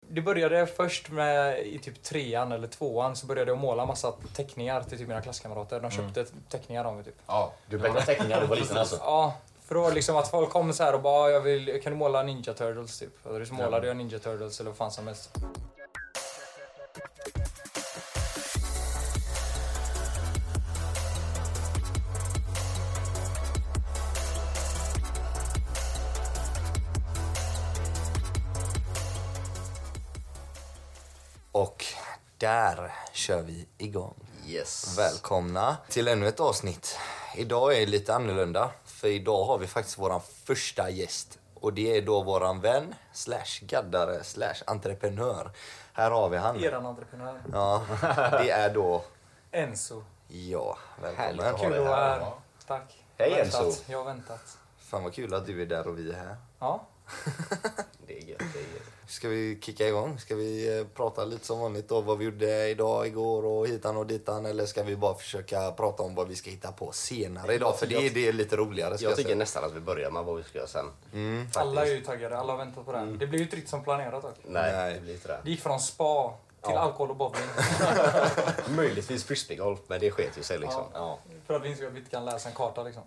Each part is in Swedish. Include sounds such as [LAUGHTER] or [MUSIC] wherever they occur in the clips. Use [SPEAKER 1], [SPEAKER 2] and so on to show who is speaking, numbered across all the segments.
[SPEAKER 1] det började först med, i typ trean eller tvåan, så började jag måla massa teckningar till typ mina klasskamrater. De köpte
[SPEAKER 2] Mm.
[SPEAKER 1] teckningar av mig typ.
[SPEAKER 3] Ja,
[SPEAKER 2] Du bäckade teckningar när du var [LAUGHS] liten alltså.
[SPEAKER 1] Ja, för då var det liksom att folk kom så här och bara jag vill, kan du måla Ninja Turtles typ? Och så målade jag Ninja Turtles eller vad fan som helst.
[SPEAKER 4] Och där kör vi igång.
[SPEAKER 2] Yes.
[SPEAKER 4] Välkomna till ännu ett avsnitt. Idag är det lite annorlunda, för idag har vi faktiskt vår första gäst. Och det är då våran vän, slash gaddare, slash entreprenör. Här har vi
[SPEAKER 2] Mm.
[SPEAKER 4] han.
[SPEAKER 1] Eran entreprenör.
[SPEAKER 4] Ja, det är då...
[SPEAKER 1] Enzo.
[SPEAKER 4] Ja,
[SPEAKER 2] Härligt att ha
[SPEAKER 4] välkommen.
[SPEAKER 1] Kul
[SPEAKER 2] dig
[SPEAKER 1] att vara
[SPEAKER 2] här.
[SPEAKER 1] här. Tack.
[SPEAKER 2] Hej,
[SPEAKER 1] Väntat.
[SPEAKER 2] Enzo.
[SPEAKER 1] Jag har väntat.
[SPEAKER 4] Fan vad kul att du är där och vi är här.
[SPEAKER 1] Ja,
[SPEAKER 2] Det är gött, det är gött.
[SPEAKER 4] Ska vi kicka igång? Ska vi eh, prata lite som vanligt om vad vi gjorde idag, igår och hitan och ditan? Eller ska vi bara försöka prata om vad vi ska hitta på senare idag? För det, är- det är lite roligare. Ska
[SPEAKER 2] Jag Mm. tycker
[SPEAKER 4] säga.
[SPEAKER 2] nästan att vi börjar med vad vi ska göra sen.
[SPEAKER 1] alla är ju taggade. Alla har väntat på det här.
[SPEAKER 2] Mm.
[SPEAKER 1] Det blev ju inte riktigt som planerat dock.
[SPEAKER 2] Nej,
[SPEAKER 4] Nej.
[SPEAKER 2] det blir inte det.
[SPEAKER 1] Det gick från spa till
[SPEAKER 2] Ja.
[SPEAKER 1] alkohol och bowling. [LAUGHS]
[SPEAKER 2] Möjligtvis frisbeegolf, men det sket ju sig liksom. Ja.
[SPEAKER 1] För att vi inte- vi inte kan läsa en karta liksom.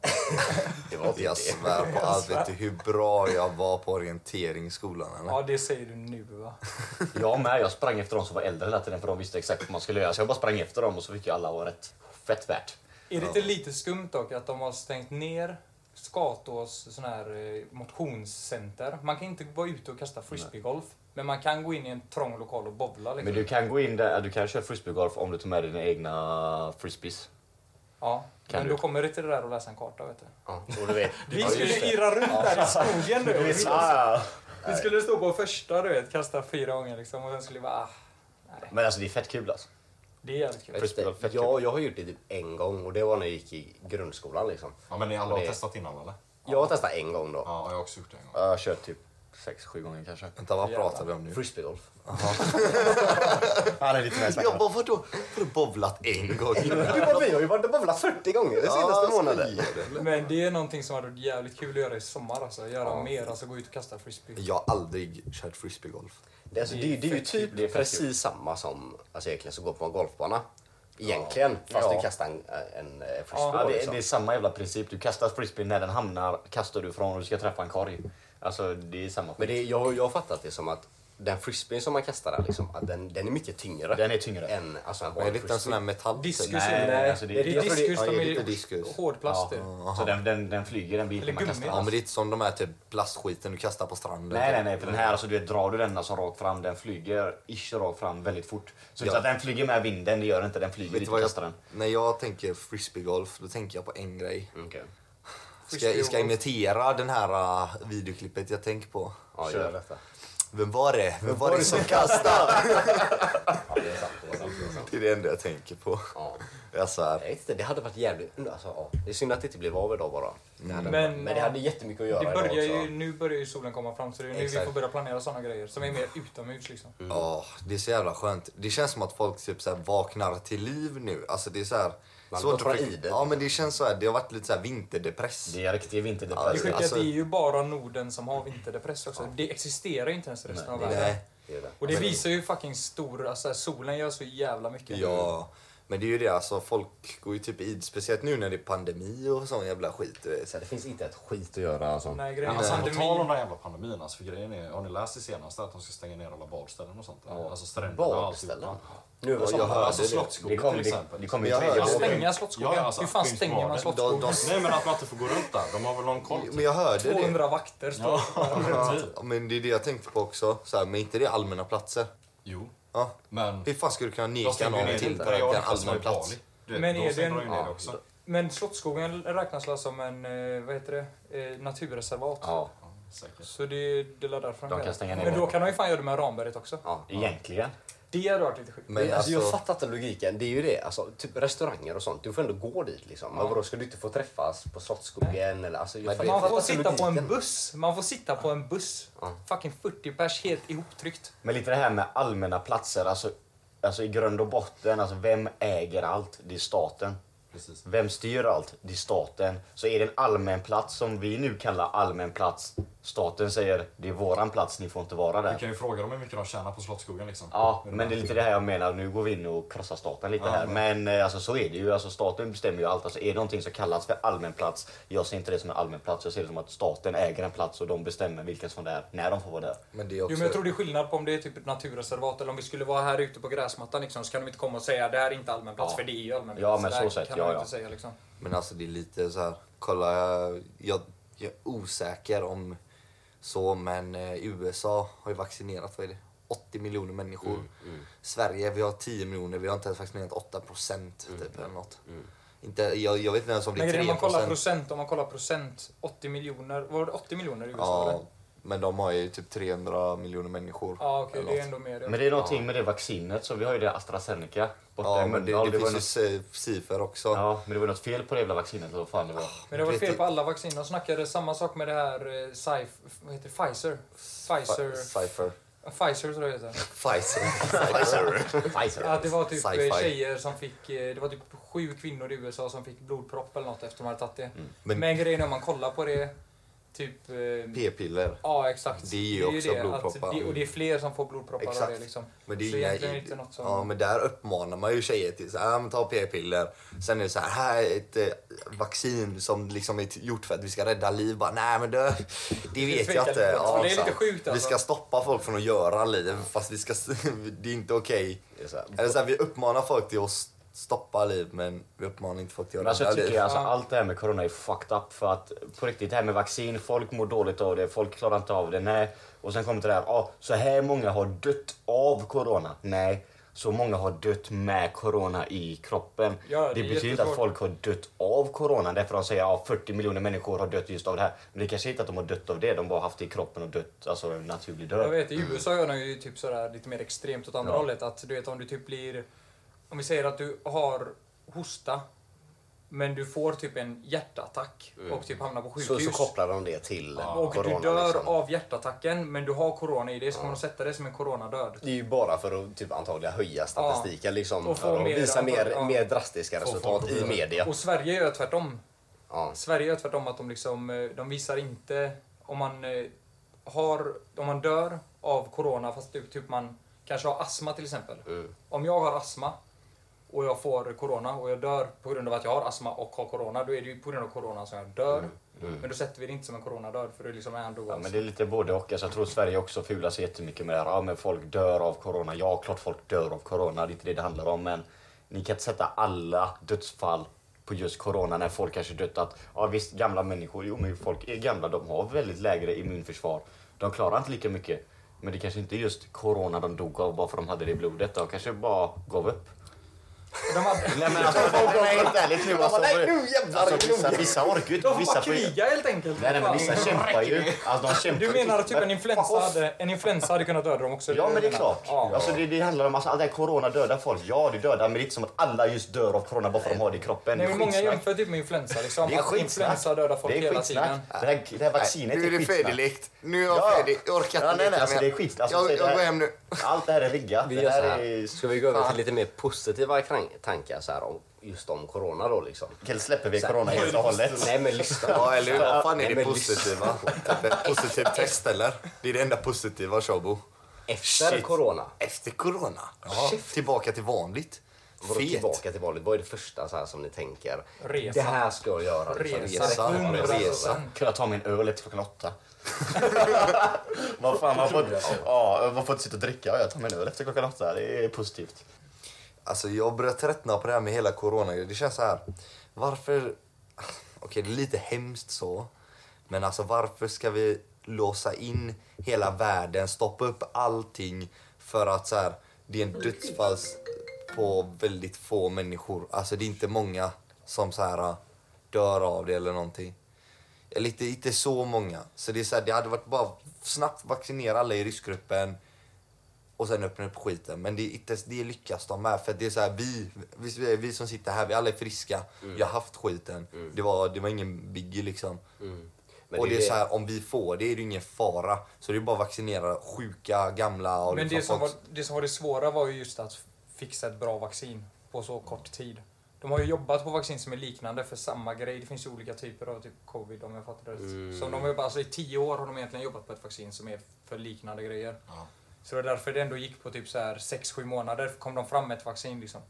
[SPEAKER 2] Det var typ
[SPEAKER 4] Jag
[SPEAKER 2] det.
[SPEAKER 4] svär på allt. Vet du hur bra jag var på orientering i skolan? Eller?
[SPEAKER 1] Ja, det säger du nu va?
[SPEAKER 2] [LAUGHS] Jag med, jag sprang efter de som var äldre hela tiden för de visste exakt vad man skulle göra. Så jag bara sprang efter dem och så fick ju alla vara rätt. Fett värt.
[SPEAKER 1] Är det inte lite skumt dock att de har stängt ner Skatås sån här eh, motionscenter? Man kan inte vara ute och kasta frisbeegolf, men man kan gå in i en trång lokal och bowla liksom.
[SPEAKER 2] Men du kan gå in där, du kan köra frisbeegolf om du tar med dina egna frisbees.
[SPEAKER 1] Ja,
[SPEAKER 2] Kan
[SPEAKER 1] men
[SPEAKER 2] du?
[SPEAKER 1] då kommer det till det där att läsa en karta vet du.
[SPEAKER 2] Ja, och du [LAUGHS] vet.
[SPEAKER 1] Vi
[SPEAKER 2] Ja, just
[SPEAKER 1] skulle
[SPEAKER 2] det.
[SPEAKER 1] irra runt där i skogen du. vet.
[SPEAKER 2] Ah, ja.
[SPEAKER 1] Vi skulle stå på första du vet, kasta fyra gånger liksom och sen skulle vi bara ah, nej.
[SPEAKER 2] Men alltså det är fett kul alltså.
[SPEAKER 1] Det är jävligt kul.
[SPEAKER 2] Frisbeegolf, fett kul.
[SPEAKER 5] Jag, jag har gjort det typ en gång och det var när jag gick i grundskolan liksom.
[SPEAKER 3] Ja, men ni alla har
[SPEAKER 5] Det-
[SPEAKER 3] testat innan eller?
[SPEAKER 5] Jag har testat en gång då.
[SPEAKER 3] Ja, jag har också gjort det en gång.
[SPEAKER 2] Jag har kört typ sex, sju gånger kanske.
[SPEAKER 4] Vänta, vad pratar vi om nu?
[SPEAKER 5] Frisbeegolf.
[SPEAKER 2] Han är lite mer
[SPEAKER 4] Jag bara, vadå? Har du bowlat en gång?
[SPEAKER 5] Du bara, vi har ju varit och bowlat 40 gånger den
[SPEAKER 4] Ja, alltså,
[SPEAKER 5] senaste månaden.
[SPEAKER 4] skojar du, eller?
[SPEAKER 1] Men det är någonting som hade varit jävligt kul att göra i sommar alltså. Göra mer, alltså gå ut och kasta frisbee.
[SPEAKER 4] Jag har aldrig kört frisbeegolf.
[SPEAKER 5] Det, är alltså,
[SPEAKER 1] Det
[SPEAKER 5] det,
[SPEAKER 1] är
[SPEAKER 5] är- det är ju
[SPEAKER 1] fett kul.
[SPEAKER 5] typ
[SPEAKER 2] Det är fett
[SPEAKER 5] precis samma som alltså, egentligen så går på en golfbana. Egentligen, fast
[SPEAKER 2] Ja.
[SPEAKER 5] du kastar en, en eh,
[SPEAKER 1] Ja,
[SPEAKER 5] frisbee.
[SPEAKER 2] Ja, det,
[SPEAKER 5] liksom.
[SPEAKER 2] det är samma jävla princip. Du kastar frisbeen när den hamnar, kastar du från och du ska träffa en korg. Alltså det är samma
[SPEAKER 5] Men
[SPEAKER 2] skit.
[SPEAKER 5] det, jag, jag har fattat det som att den frisbeen som man kastar där, liksom, att den, den är mycket tyngre.
[SPEAKER 2] Den är tyngre.
[SPEAKER 5] Än alltså, en
[SPEAKER 4] Men är det
[SPEAKER 5] vanlig
[SPEAKER 4] inte en sån
[SPEAKER 5] frisbee.
[SPEAKER 4] här metall...
[SPEAKER 1] Diskus
[SPEAKER 2] Nej,
[SPEAKER 1] är det.
[SPEAKER 2] nej, alltså det-
[SPEAKER 1] det, är
[SPEAKER 5] jag tror det-
[SPEAKER 1] diskus,
[SPEAKER 4] ja,
[SPEAKER 1] de
[SPEAKER 4] det
[SPEAKER 1] är
[SPEAKER 4] är lite
[SPEAKER 1] ju
[SPEAKER 4] diskus.
[SPEAKER 1] hårdplast
[SPEAKER 2] ja.
[SPEAKER 1] det.
[SPEAKER 2] Så den, den, den flyger den
[SPEAKER 1] Eller
[SPEAKER 2] biten man kastar.
[SPEAKER 1] gummi.
[SPEAKER 4] Ja, men det är inte som de här typ plastskiten du kastar på stranden. typ.
[SPEAKER 2] Nej, nej, nej. För den här, alltså, du vet, drar du den alltså rakt fram, den flyger ish rakt fram väldigt fort. Så
[SPEAKER 4] Ja.
[SPEAKER 2] ja. att den flyger med vinden, det gör den inte. Den flyger
[SPEAKER 4] Vet
[SPEAKER 2] dit
[SPEAKER 4] du
[SPEAKER 2] och
[SPEAKER 4] vad jag,
[SPEAKER 2] kastar den.
[SPEAKER 4] när jag tänker frisbeegolf, då tänker jag på en grej.
[SPEAKER 5] Okej.
[SPEAKER 4] Ska, jag- ska jag imitera den här äh, videoklippet jag tänker på?
[SPEAKER 5] Ja, gör [LAUGHS] detta.
[SPEAKER 4] Vem var det? Vem var det som kastade?
[SPEAKER 5] Ja, det är sant. Det är sant. Det är sant.
[SPEAKER 4] Det är det enda jag tänker på.
[SPEAKER 5] Ja.
[SPEAKER 4] [LAUGHS] Jag svär.
[SPEAKER 5] Jag vet inte, det hade varit jävligt... Alltså, ja. Det är synd att det inte blev av idag bara. Det hade,
[SPEAKER 1] Men-
[SPEAKER 5] men, men det hade jättemycket att göra
[SPEAKER 1] Det börjar
[SPEAKER 5] idag
[SPEAKER 1] ju,
[SPEAKER 5] också.
[SPEAKER 1] nu börjar ju solen komma fram så det är nu vi
[SPEAKER 5] Exakt.
[SPEAKER 1] får börja planera sådana grejer som är mer utomhus liksom.
[SPEAKER 5] Mm.
[SPEAKER 4] Ja, det är så jävla skönt. Det känns som att folk typ så här vaknar till liv nu. Alltså det är så här...
[SPEAKER 5] Man
[SPEAKER 4] svårt
[SPEAKER 5] går
[SPEAKER 4] att
[SPEAKER 5] från
[SPEAKER 4] förkla-
[SPEAKER 5] iden.
[SPEAKER 4] Ja, men det känns så här. Det har varit lite så här vinterdepress.
[SPEAKER 2] Det är riktig
[SPEAKER 4] Ja,
[SPEAKER 1] Det
[SPEAKER 2] vinterdepress.
[SPEAKER 1] sjuka är att
[SPEAKER 4] alltså-
[SPEAKER 1] det är ju bara Norden som har vinterdepress också. Det existerar ju inte ens i resten av världen.
[SPEAKER 4] Nej.
[SPEAKER 5] Det är det.
[SPEAKER 1] Och det visar ju fucking stor, alltså solen gör så jävla mycket.
[SPEAKER 4] Ja, men det är ju det alltså. Folk går ju typ i Speciellt nu när det är pandemi och sån jävla skit. du vet.
[SPEAKER 5] Så det finns inte ett skit att göra alltså.
[SPEAKER 1] Nej, grejen är
[SPEAKER 3] Alltså, på tal om
[SPEAKER 1] pandemin.
[SPEAKER 3] den jävla pandemin, alltså, för grejen är, har ni läst det senaste att de ska stänga ner alla badställen och sånt? Ja. Alltså stränderna och
[SPEAKER 5] Badställen?
[SPEAKER 3] alltihopa.
[SPEAKER 5] Nu var
[SPEAKER 4] Ja, jag
[SPEAKER 5] sommaren.
[SPEAKER 4] hör-
[SPEAKER 3] Alltså
[SPEAKER 4] det.
[SPEAKER 2] Det
[SPEAKER 3] Slottsskogen
[SPEAKER 2] kommer
[SPEAKER 3] till
[SPEAKER 2] det,
[SPEAKER 3] exempel.
[SPEAKER 2] det kommer ju
[SPEAKER 4] Jag
[SPEAKER 2] tredje
[SPEAKER 4] hör-
[SPEAKER 2] vågen.
[SPEAKER 1] Stänga Slottsskogen?
[SPEAKER 3] Ja, alltså,
[SPEAKER 1] Hur fan
[SPEAKER 3] Finnsbaden.
[SPEAKER 1] stänger man Slottsskogen?
[SPEAKER 4] De-
[SPEAKER 3] Nej men att man inte får gå runt där. De har väl någon koll? typ.
[SPEAKER 4] Men jag hörde det.
[SPEAKER 1] 200 vakter står
[SPEAKER 3] Ja, typ.
[SPEAKER 4] Ja, men det är det jag tänkte på också. Så här, men inte det allmänna platser?
[SPEAKER 3] Jo,
[SPEAKER 4] Ja.
[SPEAKER 3] men...
[SPEAKER 4] Hur fan ska du kunna
[SPEAKER 3] De
[SPEAKER 4] neka
[SPEAKER 3] stänger ju
[SPEAKER 4] någon
[SPEAKER 3] ner
[SPEAKER 4] till
[SPEAKER 3] det. Jag
[SPEAKER 4] till en
[SPEAKER 3] har som var i
[SPEAKER 4] allmän plats?
[SPEAKER 3] Bali. Du vet,
[SPEAKER 1] Men är
[SPEAKER 3] De
[SPEAKER 1] det
[SPEAKER 3] stänger
[SPEAKER 1] en-
[SPEAKER 3] ju ner
[SPEAKER 1] ja.
[SPEAKER 3] det också.
[SPEAKER 1] Men Slottsskogen räknas väl som en, eh, vad heter det, eh, naturreservat?
[SPEAKER 2] Ja,
[SPEAKER 3] Säkert.
[SPEAKER 1] Så det, det är därför
[SPEAKER 2] De kan
[SPEAKER 1] gör det.
[SPEAKER 2] stänga ner
[SPEAKER 1] Men då
[SPEAKER 2] den.
[SPEAKER 1] kan de ju fan göra det med Ramberget också.
[SPEAKER 5] Ja.
[SPEAKER 2] egentligen.
[SPEAKER 1] Det hade varit lite sjukt.
[SPEAKER 2] Mm.
[SPEAKER 4] Men
[SPEAKER 5] Men alltså, jag
[SPEAKER 4] alltså-
[SPEAKER 5] fattar inte logiken. Det är ju det. Alltså, typ restauranger och sånt. Du får ändå gå dit liksom. Men vadå, ska du inte få träffas på Slottsskogen eller? Alltså, jag,
[SPEAKER 4] Men
[SPEAKER 5] fattar-
[SPEAKER 4] det-
[SPEAKER 5] jag
[SPEAKER 1] Man
[SPEAKER 5] fattar
[SPEAKER 1] får
[SPEAKER 5] inte
[SPEAKER 1] sitta på en
[SPEAKER 5] logiken.
[SPEAKER 1] buss. Man får sitta på en buss. Fucking 40 pers helt ihoptryckt.
[SPEAKER 2] Men lite det här med allmänna platser, alltså, alltså i grund och botten, alltså vem äger allt? Det är staten.
[SPEAKER 3] Precis.
[SPEAKER 2] Vem styr allt? Det är staten. Så är det en allmän plats som vi nu kallar allmän plats Staten säger det är våran plats, ni får inte vara
[SPEAKER 3] Vi
[SPEAKER 2] där.
[SPEAKER 3] kan ju fråga dem hur mycket de tjänar på Slottsskogen liksom.
[SPEAKER 2] Ja, men det är lite det här jag menar. Nu går vi in och krossar staten lite
[SPEAKER 3] Ja,
[SPEAKER 2] här.
[SPEAKER 3] men-
[SPEAKER 2] Men eh, alltså, så är det ju. Alltså, staten bestämmer ju allt. Alltså, är det någonting som kallas för allmän plats? Jag ser inte det som en allmän plats. Jag ser det som att staten äger en plats och de bestämmer vilka som det är, när de får vara där.
[SPEAKER 4] Men det är också...
[SPEAKER 1] Jo, men jag tror det är skillnad på om det är typ ett naturreservat eller om vi skulle vara här ute på gräsmattan liksom, så kan de inte komma och säga det här är inte allmän plats
[SPEAKER 2] Ja.
[SPEAKER 1] för det är ju allmän plats.
[SPEAKER 2] Ja, men
[SPEAKER 1] där
[SPEAKER 2] så sett,
[SPEAKER 1] kan
[SPEAKER 2] ja,
[SPEAKER 1] man
[SPEAKER 2] ja.
[SPEAKER 1] inte säga liksom.
[SPEAKER 4] Men alltså det är lite så här, kolla, jag, jag är osäker om så, men eh, USA har ju vaccinerat, vad är det, 80 miljoner människor.
[SPEAKER 3] Mm,
[SPEAKER 4] Sverige, vi har 10 miljoner, vi har inte ens vaccinerat 8 procent
[SPEAKER 3] Mm,
[SPEAKER 4] typ eller något. Inte, jag, jag vet inte ens om det
[SPEAKER 1] Men
[SPEAKER 4] är
[SPEAKER 1] grejen, om
[SPEAKER 4] 3
[SPEAKER 1] man kollar
[SPEAKER 4] procent.
[SPEAKER 1] procent, om man kollar procent, 80 miljoner, var det 80 miljoner i USA
[SPEAKER 4] Ja,
[SPEAKER 1] eller?
[SPEAKER 4] men de har ju typ 300 miljoner människor.
[SPEAKER 1] Ja, okej,
[SPEAKER 4] eller
[SPEAKER 1] det är
[SPEAKER 4] något.
[SPEAKER 1] ändå mer. Ja.
[SPEAKER 2] Men det är någonting med det vaccinet. Så vi har ju det AstraZeneca borta
[SPEAKER 4] Ja,
[SPEAKER 2] i
[SPEAKER 4] men det,
[SPEAKER 2] Mölndal.
[SPEAKER 4] det,
[SPEAKER 2] var ju
[SPEAKER 4] finns ju siffror också.
[SPEAKER 2] något- Ja, men det var något fel på det jävla vaccinet. eller Vad fan
[SPEAKER 4] Ah,
[SPEAKER 2] det typ- var.
[SPEAKER 1] Men det var
[SPEAKER 4] Riktigt.
[SPEAKER 1] fel på alla vacciner. De snackade samma sak med det här eh, Sci- vad heter det? Pfizer. Pfizer.
[SPEAKER 4] Pfizer.
[SPEAKER 1] Pfizer tror jag det heter.
[SPEAKER 4] Pfizer.
[SPEAKER 2] Pfizer.
[SPEAKER 1] Att det var typ eh,
[SPEAKER 4] Sci-fi.
[SPEAKER 1] tjejer som fick, eh, det var typ sju kvinnor i USA som fick blodpropp eller något efter de hade tagit det. Men,
[SPEAKER 4] Mm. Men-
[SPEAKER 1] grejen är om man kollar på det, typ... eh,
[SPEAKER 4] P-piller.
[SPEAKER 1] ja exakt.
[SPEAKER 4] Det är ju också blodproppar.
[SPEAKER 1] det, och det är fler som får blodproppar av
[SPEAKER 4] Exakt.
[SPEAKER 1] det liksom.
[SPEAKER 4] Men det är
[SPEAKER 1] så
[SPEAKER 4] ju inga,
[SPEAKER 1] egentligen är det inte något som...
[SPEAKER 4] ja, men där uppmanar man ju tjejer till att ah, men ta p-piller. Sen är det så här, här är ett eh, vaccin som liksom är gjort för att vi ska rädda liv. Bara, Nej, men det, det vet jag
[SPEAKER 1] tvekar lite.
[SPEAKER 4] inte.
[SPEAKER 1] Det är lite
[SPEAKER 4] exakt.
[SPEAKER 1] sjukt, alltså.
[SPEAKER 4] Vi ska stoppa folk från att göra liv, fast vi ska, [LAUGHS] det är inte okej.
[SPEAKER 5] Det är så här,
[SPEAKER 4] Eller så här, vi uppmanar folk till att stoppa liv, men Ah. vi uppmanar inte folk till
[SPEAKER 2] Men
[SPEAKER 4] att göra
[SPEAKER 2] Alltså, jag tycker
[SPEAKER 4] liv.
[SPEAKER 2] alltså,
[SPEAKER 1] Ja.
[SPEAKER 2] allt det här med corona är fucked up för att på riktigt det här med vaccin, folk mår dåligt av det, folk klarar inte av det, nej. Och sen kommer det där, ah, så här många har dött av corona, nej. Så många har dött med corona i kroppen.
[SPEAKER 1] Ja, det
[SPEAKER 2] det
[SPEAKER 1] är
[SPEAKER 2] betyder inte
[SPEAKER 1] jättesvårt.
[SPEAKER 2] att folk har dött av corona därför de säger att ah, 40 miljoner människor har dött just av det här. Men det kanske inte är att de har dött av det, de bara haft det i kroppen och dött, alltså en naturlig
[SPEAKER 1] Jag
[SPEAKER 2] död.
[SPEAKER 1] vet, i
[SPEAKER 4] Mm.
[SPEAKER 1] USA gör de ju typ sådär lite mer extremt åt andra
[SPEAKER 2] Ja.
[SPEAKER 1] hållet. Att du vet om du typ blir... Om vi säger att du har hosta, men du får typ en hjärtattack
[SPEAKER 4] Mm.
[SPEAKER 1] och typ hamnar på
[SPEAKER 5] Så,
[SPEAKER 1] sjukhus.
[SPEAKER 5] så kopplar de det till
[SPEAKER 1] och
[SPEAKER 5] corona.
[SPEAKER 1] du dör
[SPEAKER 5] liksom.
[SPEAKER 1] av hjärtattacken, men du har corona i dig, så kommer de sätta dig som en coronadöd.
[SPEAKER 5] Det är ju bara för att typ, antagligen höja statistiken liksom,
[SPEAKER 1] Och
[SPEAKER 5] och,
[SPEAKER 1] få mer-
[SPEAKER 5] visa mer,
[SPEAKER 1] ja.
[SPEAKER 5] mer drastiska
[SPEAKER 3] Få
[SPEAKER 5] resultat
[SPEAKER 3] folk
[SPEAKER 5] i
[SPEAKER 3] att-
[SPEAKER 5] media.
[SPEAKER 1] Och Sverige gör tvärtom.
[SPEAKER 5] Ja.
[SPEAKER 1] Sverige gör tvärtom att de liksom, eh, de visar inte om man eh, har, om man dör av corona fast typ, typ man kanske har astma till exempel.
[SPEAKER 2] Mm.
[SPEAKER 1] Om jag har astma och jag får corona och jag dör på grund av att jag har astma och har corona, då är det ju på grund av corona som jag dör. Men då sätter vi det inte som en coronadöd för det liksom är ändå...
[SPEAKER 2] Mm. Ja, men det är lite både och. Alltså, jag tror Sverige också fular sig jättemycket med det här. Ja, men folk dör av corona. Ja, klart folk dör av corona. Det är inte det det handlar om. Men ni kan inte sätta alla dödsfall på just corona när folk kanske dött att ja visst gamla människor, jo men folk är gamla, de har väldigt lägre immunförsvar. De klarar inte lika mycket. Men det kanske inte är just corona de dog av bara för de hade det i blodet. De kanske bara gav upp.
[SPEAKER 1] de hade,
[SPEAKER 2] Nej men alltså, nej, helt ärligt nu alltså.
[SPEAKER 5] Nej, nu jävlar,
[SPEAKER 2] alltså
[SPEAKER 5] nu
[SPEAKER 2] vissa, vissa orkar ju
[SPEAKER 1] [LAUGHS]
[SPEAKER 2] inte.
[SPEAKER 1] de får bara
[SPEAKER 2] Vissa får ju...
[SPEAKER 1] kriga helt enkelt!
[SPEAKER 2] Nej, nej men vissa
[SPEAKER 1] Fan.
[SPEAKER 2] kämpar ju. Alltså de kämpar
[SPEAKER 1] Du
[SPEAKER 2] ju.
[SPEAKER 1] menar att typ en influensa
[SPEAKER 2] Off.
[SPEAKER 1] hade, en influensa hade kunnat döda dem också?
[SPEAKER 2] Ja, men det är
[SPEAKER 1] menar?
[SPEAKER 2] klart.
[SPEAKER 1] Ja.
[SPEAKER 2] Alltså, det, det handlar om alltså, all det här corona dödar folk. Ja, det dödar, men det är inte som att alla just dör av corona bara för att de har det i kroppen.
[SPEAKER 1] Nej, men
[SPEAKER 2] Det är
[SPEAKER 1] många
[SPEAKER 2] skitsnack.
[SPEAKER 1] jämför typ med influensa. Liksom,
[SPEAKER 2] Det är
[SPEAKER 1] att influensa
[SPEAKER 2] skitsnack.
[SPEAKER 1] dödar folk
[SPEAKER 2] det är
[SPEAKER 1] hela
[SPEAKER 2] skitsnack.
[SPEAKER 1] tiden.
[SPEAKER 2] Det här, det här vaccinet
[SPEAKER 4] Nu är det
[SPEAKER 2] är skitsnack.
[SPEAKER 4] färdigt. Nu är jag
[SPEAKER 2] Ja.
[SPEAKER 4] färdig. Jag orkar
[SPEAKER 2] Ja,
[SPEAKER 4] inte
[SPEAKER 2] nej, nej,
[SPEAKER 4] mer.
[SPEAKER 2] alltså, det är skit. Alltså,
[SPEAKER 4] jag,
[SPEAKER 2] det
[SPEAKER 4] jag
[SPEAKER 2] här-
[SPEAKER 4] går hem nu.
[SPEAKER 2] Allt det här är riggat.
[SPEAKER 5] Vi
[SPEAKER 2] Det
[SPEAKER 5] gör så
[SPEAKER 2] här
[SPEAKER 5] här.
[SPEAKER 2] är...
[SPEAKER 5] Ska vi gå över till lite mer positiva kran- tankar så här, om, just om corona då liksom?
[SPEAKER 2] Okej, släpper vi corona helt och hållet.
[SPEAKER 5] Nej men lyssna.
[SPEAKER 4] Ja, eller hur? Vad fan
[SPEAKER 5] Nej,
[SPEAKER 4] är det
[SPEAKER 5] men
[SPEAKER 4] [LAUGHS]
[SPEAKER 5] lyssna.
[SPEAKER 4] positiva? Typ ett Positivt test, eller? Det är det enda positiva, Shobo.
[SPEAKER 5] Efter
[SPEAKER 4] Shit.
[SPEAKER 5] corona.
[SPEAKER 4] Efter corona? Tillbaka till vanligt.
[SPEAKER 5] Vadå
[SPEAKER 4] Fet.
[SPEAKER 5] tillbaka till vanligt? Vad är det första så här, som ni tänker?
[SPEAKER 1] Resa.
[SPEAKER 5] Det här ska jag göra. Liksom.
[SPEAKER 1] Resa.
[SPEAKER 4] Resa.
[SPEAKER 1] Hundra
[SPEAKER 4] Resa.
[SPEAKER 1] procent.
[SPEAKER 2] Kunna ta min öl efter klockan
[SPEAKER 5] [LAUGHS]
[SPEAKER 2] åtta. vad fan, man får, ja, man får inte sitta och dricka. Ja, Jag tar min öl efter klockan åtta. Det är positivt.
[SPEAKER 4] Alltså, jag börjar tröttna på det här med hela corona. Det känns så här... Varför... Okej, det är lite hemskt så. Men alltså, varför ska vi låsa in hela världen, stoppa upp allting för att så här, det är en dödsfalls på väldigt få människor. Alltså, det är inte många som så här dör av det eller någonting. Eller inte, inte så många. Så det, är så här, det hade varit bara snabbt vaccinera alla i riskgruppen och sen öppna upp skiten. Men det, är inte, det lyckas de med. För att det är så här, vi, vi, vi som sitter här, vi alla är friska. Vi har haft skiten. Det, var, det var ingen biggie liksom.
[SPEAKER 5] Men
[SPEAKER 4] och Mm. det är
[SPEAKER 5] det-
[SPEAKER 4] så här, om vi får det är det ingen fara. Så det är bara att vaccinera sjuka, gamla och
[SPEAKER 1] Men det
[SPEAKER 4] liksom
[SPEAKER 1] som, var,
[SPEAKER 4] folk-
[SPEAKER 1] det som var det svåra var ju just att fixa ett bra vaccin på så kort tid. De har ju jobbat på vaccin som är liknande för samma grej. Det finns ju olika typer av typ covid om jag fattar rätt. Så
[SPEAKER 5] Mm.
[SPEAKER 1] de har jobbat, alltså, i tio år har de egentligen jobbat på ett vaccin som är för liknande grejer.
[SPEAKER 3] Ja.
[SPEAKER 1] Så det var därför det ändå gick på typ så här 6-7 månader kom de fram med ett vaccin liksom.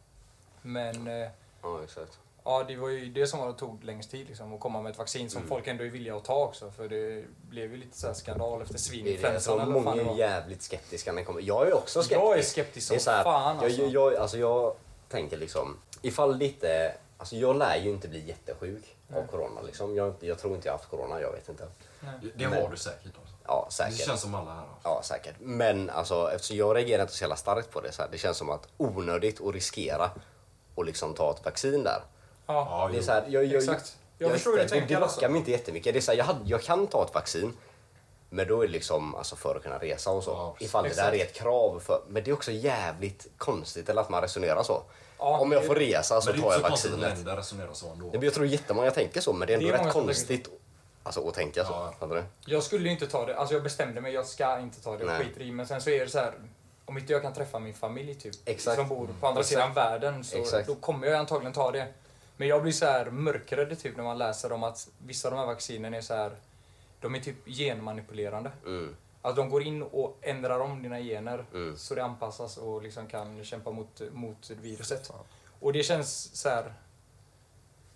[SPEAKER 1] Men eh,
[SPEAKER 5] Ja, exakt.
[SPEAKER 1] ja, det var ju det som var det tog längst tid liksom, att komma med ett vaccin
[SPEAKER 5] Mm.
[SPEAKER 1] som folk ändå är villiga att ta också. För det blev ju lite så här skandal efter
[SPEAKER 5] Det är det. Alltså,
[SPEAKER 1] svininfluensan eller vad
[SPEAKER 5] många
[SPEAKER 1] fan det
[SPEAKER 5] är
[SPEAKER 1] var.
[SPEAKER 5] jävligt skeptiska när det kommer. Jag är också skeptisk.
[SPEAKER 1] Jag är skeptisk som
[SPEAKER 5] Det är så här,
[SPEAKER 1] fan alltså.
[SPEAKER 5] jag, jag, alltså jag tänker liksom, ifall lite... Alltså jag lär ju inte bli jättesjuk av corona. Liksom. Jag, jag tror inte jag har haft corona, jag vet inte.
[SPEAKER 3] Det har du säkert. Alltså.
[SPEAKER 5] Ja,
[SPEAKER 3] Det
[SPEAKER 5] säkert.
[SPEAKER 3] känns som alla här. Alltså.
[SPEAKER 5] Ja, säkert. Men alltså, eftersom jag reagerar inte så jävla starkt på det så här, det känns som att onödigt att riskera och liksom ta ett vaccin där.
[SPEAKER 1] Ja.
[SPEAKER 3] Ja,
[SPEAKER 5] det är
[SPEAKER 3] jo.
[SPEAKER 5] så här, jag, jag,
[SPEAKER 1] Exakt. Jag förstår hur du
[SPEAKER 5] det-
[SPEAKER 1] tänker,
[SPEAKER 5] Det
[SPEAKER 1] alltså.
[SPEAKER 5] lockar mig inte jättemycket. Det är så här, jag, hade, jag kan ta ett vaccin, men då är det liksom alltså för att kunna resa och så.
[SPEAKER 3] Ja, precis.
[SPEAKER 5] ifall det där är
[SPEAKER 1] Exakt.
[SPEAKER 5] ett krav. För, men det är också jävligt konstigt eller att man resonerar så.
[SPEAKER 1] Ja,
[SPEAKER 5] Om jag
[SPEAKER 1] det-
[SPEAKER 5] får resa så
[SPEAKER 3] Men det är
[SPEAKER 5] tar
[SPEAKER 3] inte
[SPEAKER 5] jag
[SPEAKER 3] så konstigt att
[SPEAKER 5] vaccinet.
[SPEAKER 3] länder resonerar så ändå.
[SPEAKER 5] Nej, men Jag tror jättemånga tänker så, men det är
[SPEAKER 1] Det är
[SPEAKER 5] ändå rätt
[SPEAKER 1] många som
[SPEAKER 5] konstigt alltså, att tänka så.
[SPEAKER 3] Ja.
[SPEAKER 5] Fattar du?
[SPEAKER 1] Jag skulle ju inte ta det, alltså jag bestämde mig, jag ska inte ta det, jag
[SPEAKER 5] Nej.
[SPEAKER 1] skiter i Men sen så är det så här, om inte jag kan träffa min familj typ,
[SPEAKER 5] Exakt.
[SPEAKER 1] som bor på andra
[SPEAKER 5] Exakt.
[SPEAKER 1] sidan världen, så
[SPEAKER 5] Exakt.
[SPEAKER 1] då kommer jag antagligen ta det. Men jag blir så här mörkrädd typ när man läser om att vissa av de här vaccinen är så här, de är typ genmanipulerande.
[SPEAKER 5] Mm.
[SPEAKER 1] Alltså de går in och ändrar om dina gener
[SPEAKER 5] Mm.
[SPEAKER 1] så det anpassas och liksom kan kämpa mot, mot viruset. Och det känns så här.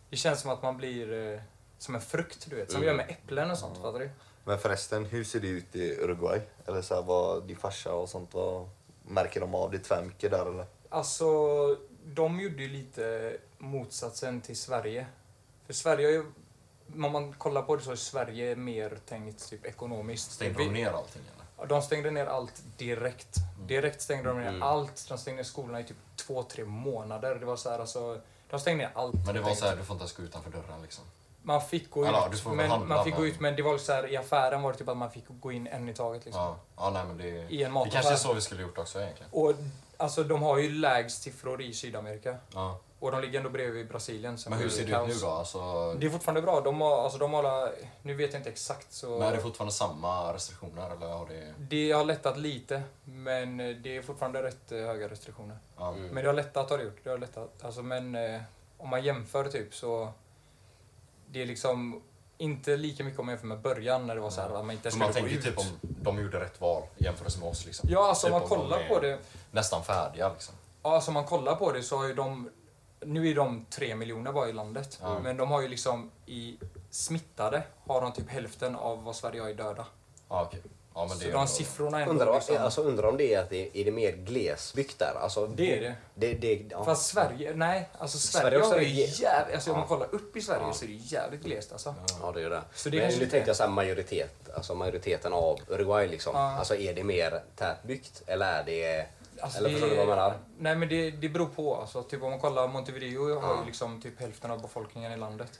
[SPEAKER 1] Det känns som att man blir eh, som en frukt, du vet.
[SPEAKER 5] Mm.
[SPEAKER 1] Som vi gör med äpplen och sånt, fattar du?
[SPEAKER 4] Men förresten, hur ser det ut i Uruguay? Eller så här, vad din farsa och sånt, vad märker de av det tvärmycket där eller?
[SPEAKER 1] Alltså, de gjorde ju lite motsatsen till Sverige. För Sverige har ju, om man kollar på det så är Sverige mer tänkt typ ekonomiskt.
[SPEAKER 3] Stängde
[SPEAKER 1] Vi-
[SPEAKER 3] de ner Mm. allting eller?
[SPEAKER 1] Ja, De stängde ner allt direkt. Direkt stängde de ner allt. De stängde ner skolorna i typ två, tre månader. Det var så här alltså, de stängde ner allt.
[SPEAKER 3] Men det var så här, du får inte ens gå utanför dörren liksom.
[SPEAKER 1] Man fick gå ut,
[SPEAKER 3] Eller, du får väl
[SPEAKER 1] men,
[SPEAKER 3] handla,
[SPEAKER 1] man fick gå
[SPEAKER 3] men-
[SPEAKER 1] ut, men det var så här, i affären var det typ att man fick gå in en i taget liksom.
[SPEAKER 3] Ja, ja nej men det,
[SPEAKER 1] I en
[SPEAKER 3] det
[SPEAKER 1] mataffär.
[SPEAKER 3] kanske är så vi skulle gjort också egentligen.
[SPEAKER 1] Och alltså de har ju lägst siffror i Sydamerika.
[SPEAKER 3] Ja.
[SPEAKER 1] Och de ligger ändå bredvid Brasilien. så
[SPEAKER 3] Men hur
[SPEAKER 1] det
[SPEAKER 3] ser
[SPEAKER 1] är
[SPEAKER 3] det ut
[SPEAKER 1] kaos.
[SPEAKER 3] nu då? Alltså,
[SPEAKER 1] Det är fortfarande bra. De har, alltså, de har alla, nu vet jag inte exakt så...
[SPEAKER 3] men är det fortfarande samma restriktioner eller har det...
[SPEAKER 1] det har lättat lite, men eh, det är fortfarande rätt eh, höga restriktioner.
[SPEAKER 3] Ja.
[SPEAKER 5] Mm.
[SPEAKER 1] Men det har lättat har det gjort. Det har lättat. Alltså, men eh, om man jämför typ så... Det är liksom inte lika mycket om man jämför med början när det var så här att man inte
[SPEAKER 3] För
[SPEAKER 1] ens
[SPEAKER 3] man
[SPEAKER 1] skulle
[SPEAKER 3] tänker
[SPEAKER 1] gå
[SPEAKER 3] ju
[SPEAKER 1] ut.
[SPEAKER 3] typ om de gjorde rätt val i jämförelse med oss liksom.
[SPEAKER 1] Ja, alltså
[SPEAKER 3] Typ
[SPEAKER 1] om man
[SPEAKER 3] om de
[SPEAKER 1] kollar
[SPEAKER 3] är-
[SPEAKER 1] på det.
[SPEAKER 3] Nästan färdiga liksom.
[SPEAKER 1] Ja, alltså om man kollar på det så har ju de... Nu är de tre miljoner bara i landet.
[SPEAKER 3] Ja.
[SPEAKER 1] Men de har ju liksom i smittade har de typ hälften av vad Sverige har i döda.
[SPEAKER 3] Ja okej. Ja men det
[SPEAKER 1] så
[SPEAKER 3] är
[SPEAKER 1] de
[SPEAKER 3] ändå-
[SPEAKER 1] siffrorna är ändå
[SPEAKER 5] Undrar,
[SPEAKER 1] liksom...
[SPEAKER 5] alltså, undrar om det är, att det, är det mer glesbygd där? Alltså,
[SPEAKER 1] Det är det.
[SPEAKER 5] det, det ja.
[SPEAKER 1] Fast Sverige, nej, alltså Sverige,
[SPEAKER 5] Sverige också
[SPEAKER 1] har ju
[SPEAKER 5] är jä-
[SPEAKER 1] jävligt, alltså om
[SPEAKER 5] Ja.
[SPEAKER 1] man kollar upp i Sverige så är det jävligt glest alltså.
[SPEAKER 5] Ja, det är det.
[SPEAKER 1] Så det
[SPEAKER 5] men
[SPEAKER 1] kanske
[SPEAKER 5] nu
[SPEAKER 1] inte är-
[SPEAKER 5] tänkte jag så här majoritet, alltså majoriteten av Uruguay liksom.
[SPEAKER 1] Ja.
[SPEAKER 5] Alltså är det mer tätbyggt eller är det...
[SPEAKER 1] Alltså,
[SPEAKER 5] eller förstår du vad jag menar?
[SPEAKER 1] Nej men det, det beror på alltså. Typ om man kollar Montevideo har ju liksom typ hälften av befolkningen i landet.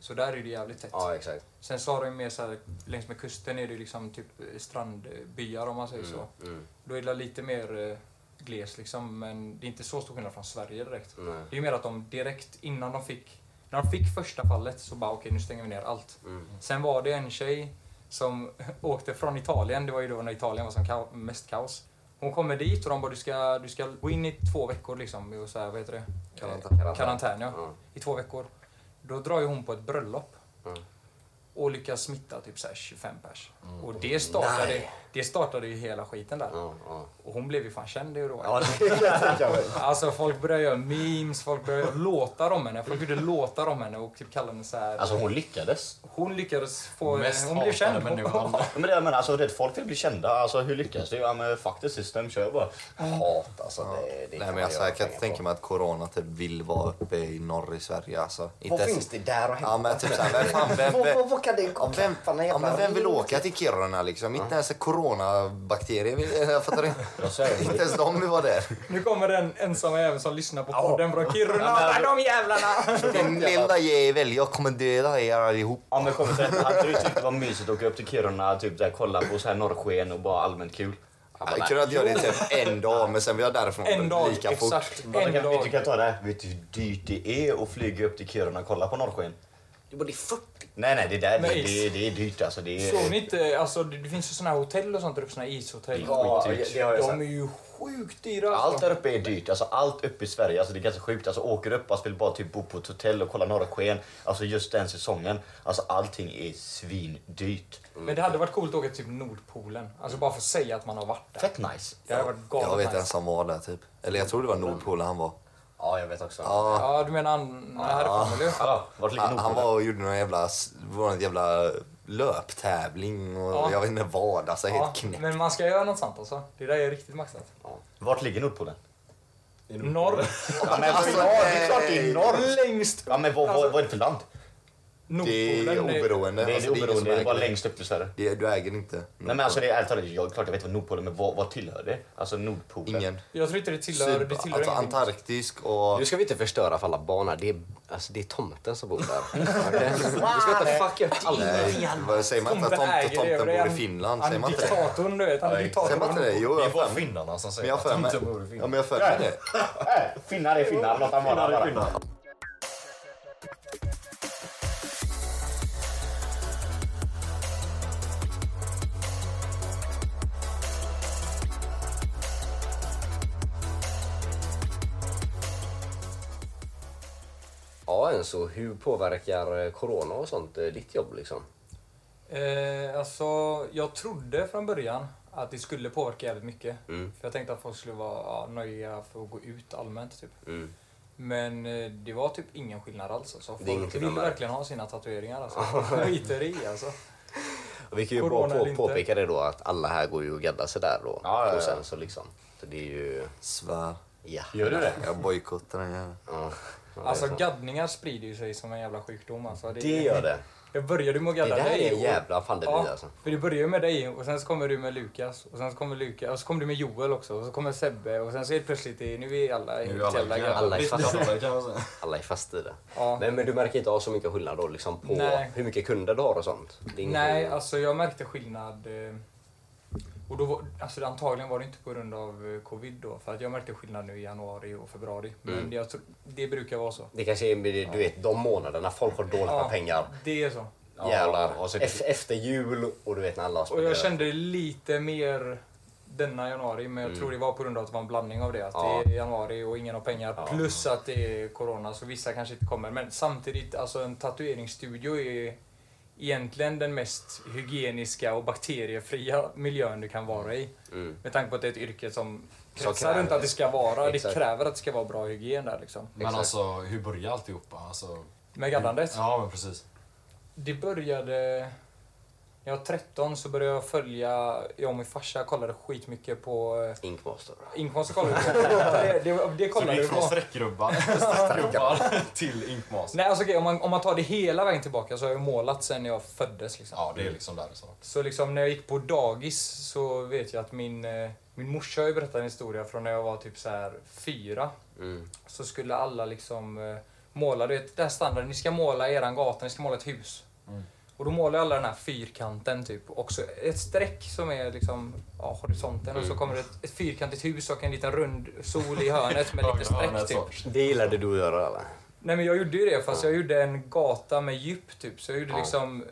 [SPEAKER 1] Så där är det jävligt tätt.
[SPEAKER 5] Mm. Ja, exakt.
[SPEAKER 1] Sen så har de ju mer så här, längs med kusten är det ju liksom typ eh, strandbyar om man säger
[SPEAKER 5] Mm.
[SPEAKER 1] så. Då är det lite mer eh, gles liksom men det är inte så stor skillnad från Sverige direkt.
[SPEAKER 5] Nej.
[SPEAKER 1] Det är ju mer att de direkt innan de fick, när de fick första fallet så bara okej nu stänger vi ner allt.
[SPEAKER 5] Mm,
[SPEAKER 1] Sen var det en tjej som [LAUGHS] åkte från Italien, det var ju då när Italien var som kao- mest kaos. Hon kommer dit och de bara du ska, du ska gå in i två veckor liksom, och så här, vad heter det?
[SPEAKER 5] Karantän. Mm.
[SPEAKER 1] Eh, Karantän ja.
[SPEAKER 5] Ja.
[SPEAKER 1] I två veckor. Då drar ju hon på ett bröllop.
[SPEAKER 5] Mm.
[SPEAKER 1] Och lyckas smitta typ så här 25 pers. Och det startade, det startade ju hela skiten där.
[SPEAKER 5] Ja, ja.
[SPEAKER 1] Och hon blev ju fan känd i Uruguay.
[SPEAKER 5] Mm, Ja, det kan jag tänka mig.
[SPEAKER 1] Alltså folk började göra memes, folk började göra låtar om henne. Folk gjorde låtar om henne och typ kallade henne så här.
[SPEAKER 2] [LAUGHS] Alltså hon lyckades.
[SPEAKER 1] Hon lyckades få...
[SPEAKER 3] Mest
[SPEAKER 1] hon blev
[SPEAKER 3] hatade
[SPEAKER 1] känd.
[SPEAKER 3] människan.
[SPEAKER 2] Men det jag menar, alltså rätt folk vill bli kända. Alltså hur lyckas du? Ja men fuck the system, kör bara.
[SPEAKER 5] Hat alltså. Det, det
[SPEAKER 2] Liksom
[SPEAKER 4] Nej men alltså, jag kan inte tänka mig att corona typ vill vara uppe i norr i Sverige alltså. Inte
[SPEAKER 5] Vad
[SPEAKER 4] ens-
[SPEAKER 5] finns det där att
[SPEAKER 4] Ja
[SPEAKER 5] hämta?
[SPEAKER 4] men typ såhär, vem fan, vem,
[SPEAKER 5] Vad- vad-
[SPEAKER 4] vem,
[SPEAKER 5] vad kan det
[SPEAKER 4] ja, vem,
[SPEAKER 5] fan, en
[SPEAKER 4] ja,
[SPEAKER 5] jävla
[SPEAKER 4] men vem vill
[SPEAKER 5] ring?
[SPEAKER 4] åka till Kiruna liksom? Inte ens coronabakterier vill, [LAUGHS] jag fattar inte.
[SPEAKER 5] så är det.
[SPEAKER 4] Inte ens de vill vara där.
[SPEAKER 1] Nu kommer den ensamma även som lyssnar på
[SPEAKER 5] Ja.
[SPEAKER 1] podden från Kiruna. Ja, de jävlarna!
[SPEAKER 4] Din lilla jävel, jag kommer döda er allihop.
[SPEAKER 2] Ja men kom så här, hade du tyckt det var mysigt typ att åka upp till Kiruna och typ där, kolla på så här norrsken och bara allmänt kul?
[SPEAKER 4] Jag kunde inte göra det typ en dag, men sen vill jag därifrån
[SPEAKER 1] En dag,
[SPEAKER 4] lika fort.
[SPEAKER 1] exakt.
[SPEAKER 2] Ja,
[SPEAKER 1] En
[SPEAKER 2] men kan, du
[SPEAKER 1] dag.
[SPEAKER 2] kan ta det här. Vet du hur dyrt det är att flyga upp till Kiruna och kolla på norrsken?
[SPEAKER 5] Det är 40.
[SPEAKER 2] Nej nej det där det,
[SPEAKER 1] Nej.
[SPEAKER 2] det, det är dyrt alltså. Det är,
[SPEAKER 1] Såg ni inte, alltså det, det finns ju såna här hotell och sånt där uppe, såna här ishotell.
[SPEAKER 5] Ja,
[SPEAKER 2] Skitdyrt.
[SPEAKER 5] det har jag
[SPEAKER 1] De är
[SPEAKER 5] sett.
[SPEAKER 1] ju sjukt dyra. alltså.
[SPEAKER 2] Allt där uppe är dyrt. Alltså, allt uppe i Sverige. Alltså, det är ganska sjukt. Alltså, åker upp alltså, vill bara typ bo på ett hotell och kolla norrsken. Alltså just den säsongen. Alltså allting är svindyrt.
[SPEAKER 1] Men det hade varit coolt att åka till typ Nordpolen. Alltså bara för att säga att man har varit där.
[SPEAKER 2] Fett nice.
[SPEAKER 1] Det hade varit galet
[SPEAKER 4] Jag vet
[SPEAKER 1] nice.
[SPEAKER 4] en som var där typ. Eller jag tror det var Nordpolen han var.
[SPEAKER 5] Ja, jag vet också.
[SPEAKER 4] Ja,
[SPEAKER 1] Ja, du menar han han är härifrån eller?
[SPEAKER 2] Ja, vart ligger
[SPEAKER 4] han, han
[SPEAKER 2] Nordpolen?
[SPEAKER 4] var och gjorde någon jävla, s- var någon jävla löptävling och
[SPEAKER 1] Ja.
[SPEAKER 4] jag vet inte vad. Alltså helt knäppt.
[SPEAKER 1] men man ska göra något sånt alltså. Det där är riktigt maxat.
[SPEAKER 2] Vart ligger Nordpolen?
[SPEAKER 1] Norr.
[SPEAKER 2] Ja, men alltså, ja, det är klart det är norr.
[SPEAKER 1] Längst upp. Alltså,
[SPEAKER 2] Ja, men vad, vad, vad är det för land?
[SPEAKER 4] Det
[SPEAKER 1] Nordpolen.
[SPEAKER 4] är oberoende.
[SPEAKER 2] Det är det
[SPEAKER 4] Alltså, ingen som
[SPEAKER 2] oberoende, det är bara
[SPEAKER 4] äger det.
[SPEAKER 2] längst upp i Sverige.
[SPEAKER 4] Det är- Du äger inte.
[SPEAKER 2] Nej men alltså det är ärligt talat, jag, klart jag vet vad Nordpolen men vad, vad tillhör det? Alltså Nordpolen?
[SPEAKER 4] Ingen.
[SPEAKER 1] Jag tror inte det tillhör, det tillhör
[SPEAKER 4] alltså
[SPEAKER 1] ingenting.
[SPEAKER 4] antarktisk och...
[SPEAKER 5] Nu ska vi inte förstöra för alla barn här. Det är, alltså, det är tomten som bor där.
[SPEAKER 4] [LAUGHS]
[SPEAKER 1] [LAUGHS]
[SPEAKER 5] Okej? Vi ska inte fucka upp alla.
[SPEAKER 4] Nej, vad säger man inte att
[SPEAKER 1] Tomten
[SPEAKER 4] tomten,
[SPEAKER 1] äger det,
[SPEAKER 4] tomten
[SPEAKER 1] det är
[SPEAKER 4] bor i
[SPEAKER 1] en-
[SPEAKER 4] Finland?
[SPEAKER 1] Han
[SPEAKER 4] Säger
[SPEAKER 1] är
[SPEAKER 4] man inte det?
[SPEAKER 1] diktatorn du vet. Han är
[SPEAKER 4] Säger man inte det?
[SPEAKER 1] diktatorn.
[SPEAKER 4] Jo,
[SPEAKER 3] Det
[SPEAKER 4] jag har
[SPEAKER 3] är bara
[SPEAKER 4] för mig-
[SPEAKER 3] finnarna som
[SPEAKER 4] men
[SPEAKER 3] säger
[SPEAKER 4] jag har för
[SPEAKER 3] att de typ- inte bor i
[SPEAKER 4] mig... Ja,
[SPEAKER 3] Finland.
[SPEAKER 4] men jag har för mig det.
[SPEAKER 2] Äh, finnar är finnar, låt dem vara
[SPEAKER 3] Finnar är
[SPEAKER 2] bara.
[SPEAKER 3] finnar.
[SPEAKER 5] Ja, Enzo, hur påverkar eh, corona och sånt eh, ditt jobb liksom?
[SPEAKER 1] Eh, alltså, jag trodde från början att det skulle påverka jävligt mycket.
[SPEAKER 4] Mm.
[SPEAKER 1] För jag tänkte att folk skulle vara ja, nöjiga för att gå ut allmänt typ.
[SPEAKER 4] Mm.
[SPEAKER 1] Men eh, det var typ ingen skillnad alls. Alltså.
[SPEAKER 5] är
[SPEAKER 1] Folk
[SPEAKER 5] ingenting
[SPEAKER 1] vill
[SPEAKER 5] de märker.
[SPEAKER 1] verkligen ha sina tatueringar
[SPEAKER 4] [LAUGHS]
[SPEAKER 1] alltså. Skiter i alltså.
[SPEAKER 5] Och Vi kan ju
[SPEAKER 1] Corona
[SPEAKER 5] bara
[SPEAKER 1] eller
[SPEAKER 5] på,
[SPEAKER 1] inte.
[SPEAKER 5] påpeka det då att alla här går ju och gaddar sig där då.
[SPEAKER 2] Ja, ja, ja.
[SPEAKER 5] Och sen så liksom. Så det är ju...
[SPEAKER 4] Svär.
[SPEAKER 5] Ja.
[SPEAKER 2] Gör du det?
[SPEAKER 4] Jag bojkottar den jäveln.
[SPEAKER 5] Ja.
[SPEAKER 1] Alltså gaddningar sprider ju sig som en jävla sjukdom alltså.
[SPEAKER 5] Det gör det.
[SPEAKER 1] Jag började med att
[SPEAKER 5] Det
[SPEAKER 1] gadda
[SPEAKER 5] där
[SPEAKER 1] dig.
[SPEAKER 5] är en
[SPEAKER 1] och-
[SPEAKER 5] jävla pandemi
[SPEAKER 1] Ja,
[SPEAKER 5] alltså.
[SPEAKER 1] för det börjar ju med dig och sen så kommer du med Lukas och sen så kommer Lukas och så kommer du med Joel också och så kommer Sebbe och sen så helt plötsligt är, nu är alla
[SPEAKER 3] Nu är alla
[SPEAKER 1] jävla
[SPEAKER 5] alla är fast.
[SPEAKER 3] Alla kan man säga.
[SPEAKER 5] Alla är fast i det.
[SPEAKER 1] Ja.
[SPEAKER 5] Nej, men du märker inte av så mycket skillnad då liksom på
[SPEAKER 1] Nej.
[SPEAKER 5] hur mycket kunder du har och sånt? Det är ingenting-
[SPEAKER 1] Nej, alltså jag märkte skillnad. eh, Och då var, alltså antagligen var det inte på grund av eh, covid då, för att jag märkte skillnad nu i januari och februari. Men jag tror, det brukar vara så.
[SPEAKER 5] Det kanske är, med det- du vet, de månaderna folk har dåligt med pengar.
[SPEAKER 1] Det är så.
[SPEAKER 2] Ja,
[SPEAKER 5] Jävlar.
[SPEAKER 2] och sen-
[SPEAKER 5] Ef- efter jul och du vet när alla har
[SPEAKER 1] Och jag
[SPEAKER 5] spenderat.
[SPEAKER 1] kände lite mer denna januari, men jag tror det var på grund av att det var en blandning av det. Att
[SPEAKER 5] Ja.
[SPEAKER 1] det är januari och ingen har pengar, plus att det är corona, så vissa kanske inte kommer. Men samtidigt, alltså en tatueringsstudio är egentligen den mest hygieniska och bakteriefria miljön du kan vara i. Med tanke på att det är ett yrke som kretsar
[SPEAKER 5] kräver
[SPEAKER 1] runt att det ska vara,
[SPEAKER 5] Exakt.
[SPEAKER 1] det kräver att det ska vara bra hygien där liksom.
[SPEAKER 3] [LAUGHS] Men alltså hur börjar alltihopa? Alltså,
[SPEAKER 1] Med gaddandet.
[SPEAKER 3] ja men precis.
[SPEAKER 1] Det började... När jag var 13 så började jag följa... Jag och min farsa kollade skitmycket på... eh,
[SPEAKER 5] Inkmaster.
[SPEAKER 1] Inkomst kollade vi på. Det, det, det
[SPEAKER 3] Så
[SPEAKER 1] kollade
[SPEAKER 3] det
[SPEAKER 1] vi
[SPEAKER 3] gick från
[SPEAKER 1] på. [LAUGHS]
[SPEAKER 3] streckgrubbar, streckgrubbar till inkmas.
[SPEAKER 1] Nej, alltså, okej, om, man, om man tar det hela vägen tillbaka så har jag målat sen jag föddes. Liksom.
[SPEAKER 3] Ja, det är liksom där det står.
[SPEAKER 1] Så liksom, när jag gick på dagis så vet jag att min, eh, min morsa har ju berättat en historia från när jag var typ så här fyra.
[SPEAKER 3] Mm.
[SPEAKER 1] Så skulle alla liksom eh, måla, du vet det här standarden, ni ska måla eran gata, ni ska måla ett hus. Och då målar alla den här fyrkanten typ. Och så ett streck som är liksom ja, horisonten och så
[SPEAKER 3] Mm.
[SPEAKER 1] kommer det ett, ett fyrkantigt hus och en liten rund sol i hörnet
[SPEAKER 3] [LAUGHS]
[SPEAKER 1] med lite streck typ.
[SPEAKER 3] Alltså,
[SPEAKER 5] Det gillade du att göra eller?
[SPEAKER 1] Nej men jag gjorde ju det fast jag gjorde en gata med djup typ. Så jag gjorde liksom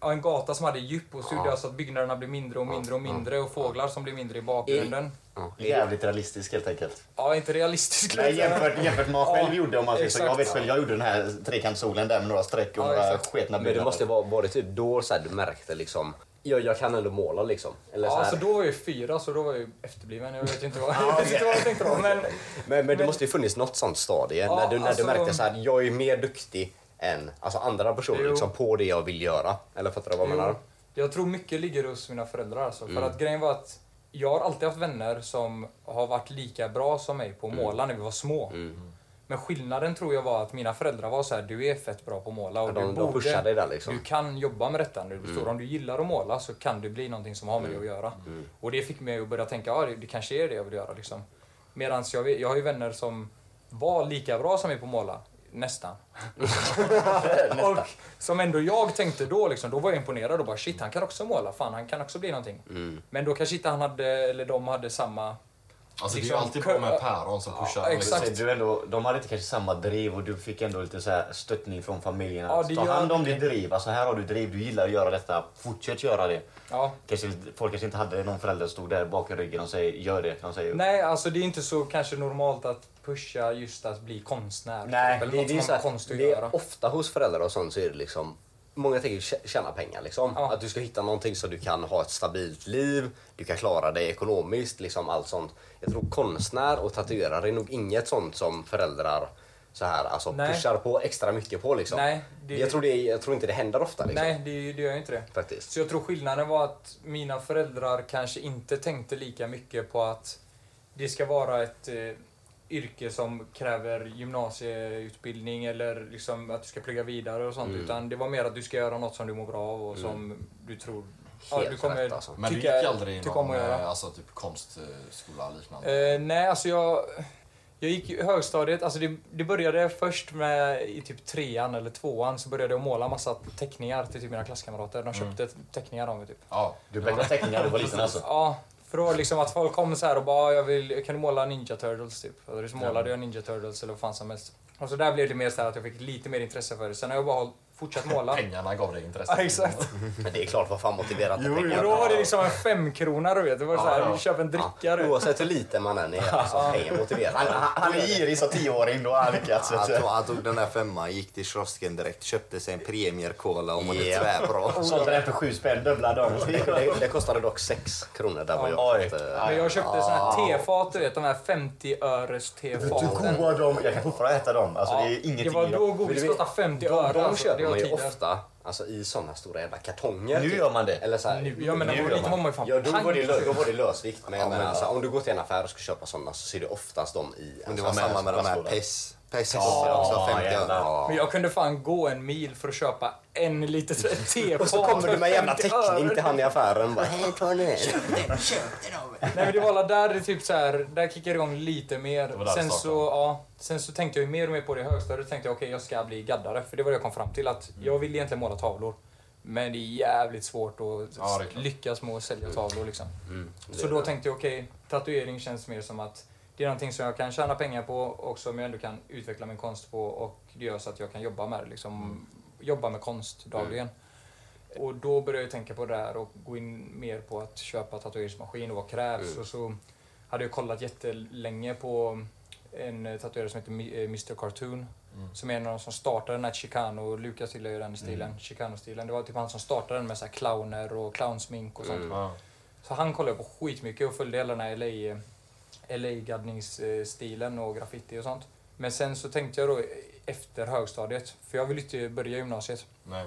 [SPEAKER 1] ja, en gata som hade djup och så gjorde jag så att byggnaderna blev mindre och mindre och mindre och fåglar som blev mindre i bakgrunden.
[SPEAKER 2] Jävligt realistisk helt enkelt.
[SPEAKER 1] Ja, inte realistiskt.
[SPEAKER 2] Nej, jämfört, jämfört med vad man själv
[SPEAKER 1] Ja,
[SPEAKER 2] gjorde. Om man säger så. Jag
[SPEAKER 1] exakt.
[SPEAKER 2] vet själv, jag gjorde den här trekantssolen där med några streck och
[SPEAKER 1] Ja,
[SPEAKER 2] några
[SPEAKER 1] exakt.
[SPEAKER 2] sketna
[SPEAKER 5] Men det
[SPEAKER 2] bilder.
[SPEAKER 5] måste vara, var det typ då så här, du märkte liksom, jag, jag kan ändå måla liksom. Eller så
[SPEAKER 1] Ja, alltså,
[SPEAKER 5] här.
[SPEAKER 1] så då var jag ju fyra så då var jag ju efterbliven. Jag vet ju inte
[SPEAKER 5] [LAUGHS]
[SPEAKER 1] vad, jag, vet inte vad jag tänkte då. Men
[SPEAKER 5] men, men det måste ju funnits något sånt stadie
[SPEAKER 1] Ja,
[SPEAKER 5] när, du, när
[SPEAKER 1] alltså-
[SPEAKER 5] du märkte så här, jag är mer duktig än alltså andra personer
[SPEAKER 1] Jo.
[SPEAKER 5] liksom, på det jag vill göra. Eller fattar du vad jag menar?
[SPEAKER 1] jag tror mycket ligger hos mina föräldrar alltså.
[SPEAKER 5] Mm.
[SPEAKER 1] För att grejen var att jag har alltid haft vänner som har varit lika bra som mig på att
[SPEAKER 5] Mm.
[SPEAKER 1] måla när vi var små. Men skillnaden tror jag var att mina föräldrar var så här, du är fett bra på att måla och
[SPEAKER 5] de-
[SPEAKER 1] du
[SPEAKER 5] de
[SPEAKER 1] borde...
[SPEAKER 5] pushar dig där, liksom." Mm.
[SPEAKER 1] Du kan jobba med detta när du blir stor. Om du gillar att måla så kan du bli någonting som har med det att göra. Och det fick mig att börja tänka, ja det, det kanske är det jag vill göra liksom. Medan jag, vet- jag har ju vänner som var lika bra som mig på att måla.
[SPEAKER 5] [LAUGHS]
[SPEAKER 1] Nästan. och som ändå jag tänkte då, liksom, då var jag imponerad och bara shit,
[SPEAKER 5] Mm.
[SPEAKER 1] han kan också måla. Fan, han kan också bli någonting. Men då kanske inte han hade, eller de hade samma
[SPEAKER 3] Alltså det är ju
[SPEAKER 1] liksom-
[SPEAKER 3] alltid bra med päron som pushar.
[SPEAKER 1] Ja,
[SPEAKER 3] dem
[SPEAKER 1] exakt.
[SPEAKER 3] lite.
[SPEAKER 2] Så Du ändå, de hade inte kanske samma driv och du fick ändå lite så här stöttning från familjen.
[SPEAKER 1] Ja,
[SPEAKER 2] att
[SPEAKER 1] det
[SPEAKER 2] Ta
[SPEAKER 1] gör
[SPEAKER 2] hand om
[SPEAKER 1] det.
[SPEAKER 2] ditt driv. Alltså här har du driv, du gillar att göra detta. Fortsätt göra det.
[SPEAKER 1] Ja.
[SPEAKER 2] Kanske, folk kanske inte hade någon förälder som stod där bak i ryggen och säger gör det. De säger,
[SPEAKER 1] Nej, alltså det är inte så kanske normalt att pusha just att bli konstnär.
[SPEAKER 2] Nej,
[SPEAKER 1] eller
[SPEAKER 5] Det,
[SPEAKER 1] något
[SPEAKER 5] det, är
[SPEAKER 1] som
[SPEAKER 5] så
[SPEAKER 1] har
[SPEAKER 5] här,
[SPEAKER 1] konst att
[SPEAKER 5] det
[SPEAKER 1] göra.
[SPEAKER 5] är ofta hos föräldrar och sånt så är det liksom Många tänker tjä- tjäna pengar liksom.
[SPEAKER 1] Ja.
[SPEAKER 5] Att du ska hitta någonting så du kan ha ett stabilt liv, du kan klara dig ekonomiskt, liksom allt sånt. Jag tror konstnär och tatuerare är nog inget sånt som föräldrar så här, alltså
[SPEAKER 1] Nej.
[SPEAKER 5] pushar på extra mycket på liksom.
[SPEAKER 1] Nej, det-
[SPEAKER 5] jag, tror det, är- jag tror inte det händer ofta liksom.
[SPEAKER 1] Nej, det, är ju- det gör ju inte det.
[SPEAKER 5] Faktiskt.
[SPEAKER 1] Så jag tror skillnaden var att mina föräldrar kanske inte tänkte lika mycket på att det ska vara ett eh, yrke som kräver gymnasieutbildning eller liksom att du ska plugga vidare och sånt.
[SPEAKER 5] Mm.
[SPEAKER 1] Utan det var mer att du ska göra något som du mår bra av och som du tror ja,
[SPEAKER 5] Helt
[SPEAKER 1] du kommer
[SPEAKER 5] rätt, alltså.
[SPEAKER 3] liksom- Men du gick
[SPEAKER 1] tycka-
[SPEAKER 3] aldrig i
[SPEAKER 1] tycka om
[SPEAKER 3] någon
[SPEAKER 1] att göra.
[SPEAKER 3] eh, alltså, typ konstskola liknande?
[SPEAKER 1] Eh, nej, alltså jag... Jag gick i högstadiet, alltså det, det började först med i typ trean eller tvåan så började jag måla massa teckningar till typ mina klasskamrater. De köpte teckningar av mig typ.
[SPEAKER 3] ja,
[SPEAKER 2] Du bäckade teckningar när du var
[SPEAKER 5] [LAUGHS]
[SPEAKER 2] liten alltså.
[SPEAKER 1] Ja, för då var det liksom att folk kom så här och bara jag vill, kan du måla Ninja Turtles typ? Och så målade jag Ninja Turtles eller vad fan som helst. Och så där blev det mer så här att jag fick lite mer intresse för det. Sen har jag bara håll- fortsatt
[SPEAKER 3] [LAUGHS]
[SPEAKER 1] måla.
[SPEAKER 3] pengarna gav dig intresse.
[SPEAKER 1] Ja, exakt.
[SPEAKER 5] Men det är klart, vad fan motiverat att
[SPEAKER 1] Och
[SPEAKER 5] pengar?
[SPEAKER 1] då var det liksom en femkrona du vet. Det var så
[SPEAKER 3] Ja,
[SPEAKER 1] här,
[SPEAKER 3] ja.
[SPEAKER 1] vi köper en dricka
[SPEAKER 5] Ja,
[SPEAKER 1] du vet.
[SPEAKER 5] Oavsett hur liten man än är, alltså, pengar motiverar.
[SPEAKER 2] Han är girig som tioåring, då har han lyckats.
[SPEAKER 4] Han
[SPEAKER 2] vet
[SPEAKER 4] tog,
[SPEAKER 2] du.
[SPEAKER 4] han tog den där femman, gick till kiosken direkt, köpte sig en premierkola och mådde
[SPEAKER 5] Ja.
[SPEAKER 4] tvärbra.
[SPEAKER 2] Sålde den för sju spänn, dubbla dem.
[SPEAKER 5] Det, det kostade dock 6 kronor där var jag.
[SPEAKER 2] Oj.
[SPEAKER 5] Så att, eh,
[SPEAKER 1] Men jag köpte såna här tefat du vet, de här 50-öres tefaten.
[SPEAKER 2] Du goa dem. Jag kan fortfarande äta dem. Alltså, det
[SPEAKER 1] Ja,
[SPEAKER 2] är ingenting
[SPEAKER 1] var
[SPEAKER 2] i
[SPEAKER 1] då
[SPEAKER 2] dem.
[SPEAKER 5] Men
[SPEAKER 1] godis
[SPEAKER 5] du
[SPEAKER 1] kostade
[SPEAKER 5] vet,
[SPEAKER 1] 50
[SPEAKER 5] de,
[SPEAKER 1] öre.
[SPEAKER 5] de
[SPEAKER 1] alltså, det
[SPEAKER 5] köper
[SPEAKER 1] var
[SPEAKER 5] man ju
[SPEAKER 1] tidigare.
[SPEAKER 5] ofta alltså, i sådana stora jävla kartonger.
[SPEAKER 2] Nu
[SPEAKER 5] typ.
[SPEAKER 2] gör man det.
[SPEAKER 5] Eller så här,
[SPEAKER 1] Nu, ja, men när
[SPEAKER 5] nu
[SPEAKER 1] man var
[SPEAKER 5] gör
[SPEAKER 1] liten var man ju fan
[SPEAKER 5] Ja, då var, det,
[SPEAKER 1] pank.
[SPEAKER 5] lö- då var det lösvikt. Men, jag
[SPEAKER 4] Ja, men
[SPEAKER 5] menar,
[SPEAKER 4] alltså.
[SPEAKER 5] alltså, om du går till en affär och ska köpa sådana så ser du oftast dem i...
[SPEAKER 4] Men det
[SPEAKER 5] alltså,
[SPEAKER 4] var samma med de här
[SPEAKER 2] plastskålar.
[SPEAKER 4] PES. PES kostade också 50
[SPEAKER 2] jävlar.
[SPEAKER 4] öre.
[SPEAKER 1] Men jag kunde fan gå en mil för att köpa en liten tefat.
[SPEAKER 5] [LAUGHS] Och så kommer du med en jävla
[SPEAKER 1] för 50 öre.
[SPEAKER 5] teckning till han i affären. Bara, Hej, ta den här."
[SPEAKER 1] Nej men det var alla där det typ så här, där kickade det igång lite mer.
[SPEAKER 3] var där det
[SPEAKER 1] Sen så,
[SPEAKER 3] startade.
[SPEAKER 1] ja, sen så tänkte jag ju mer och mer på det i högstadiet. tänkte jag okej jag ska bli gaddare. För det var det jag kom fram till att
[SPEAKER 3] Mm.
[SPEAKER 1] jag ville egentligen måla tavlor. Men det är jävligt svårt att
[SPEAKER 3] Ja, det är klart. Mm,
[SPEAKER 1] lyckas med att sälja tavlor liksom.
[SPEAKER 5] Det
[SPEAKER 1] Så
[SPEAKER 5] är
[SPEAKER 1] då
[SPEAKER 5] det.
[SPEAKER 1] tänkte jag okej, tatuering känns mer som att det är någonting som jag kan tjäna pengar på och som jag ändå kan utveckla min konst på och det gör så att jag kan jobba med det liksom.
[SPEAKER 3] Mm.
[SPEAKER 1] Jobba med konst dagligen. Och då började jag tänka på det här och gå in mer på att köpa tatueringsmaskin och vad krävs.
[SPEAKER 3] Mm.
[SPEAKER 1] Och så hade jag kollat jättelänge på en tatuerare som heter Mi- eh, Mr Cartoon. Som är en av de som startade den här Chicano, Lukas tillhör ju den stilen, Chicano-stilen. Det var typ han som startade den med så här clowner och clownsmink och sånt.
[SPEAKER 3] Ja.
[SPEAKER 1] Så han kollade jag på skitmycket och följde hela den här eh, LA, LA-gaddningsstilen och graffiti och sånt. Men sen så tänkte jag då efter högstadiet, för jag ville inte börja gymnasiet.
[SPEAKER 3] Nej.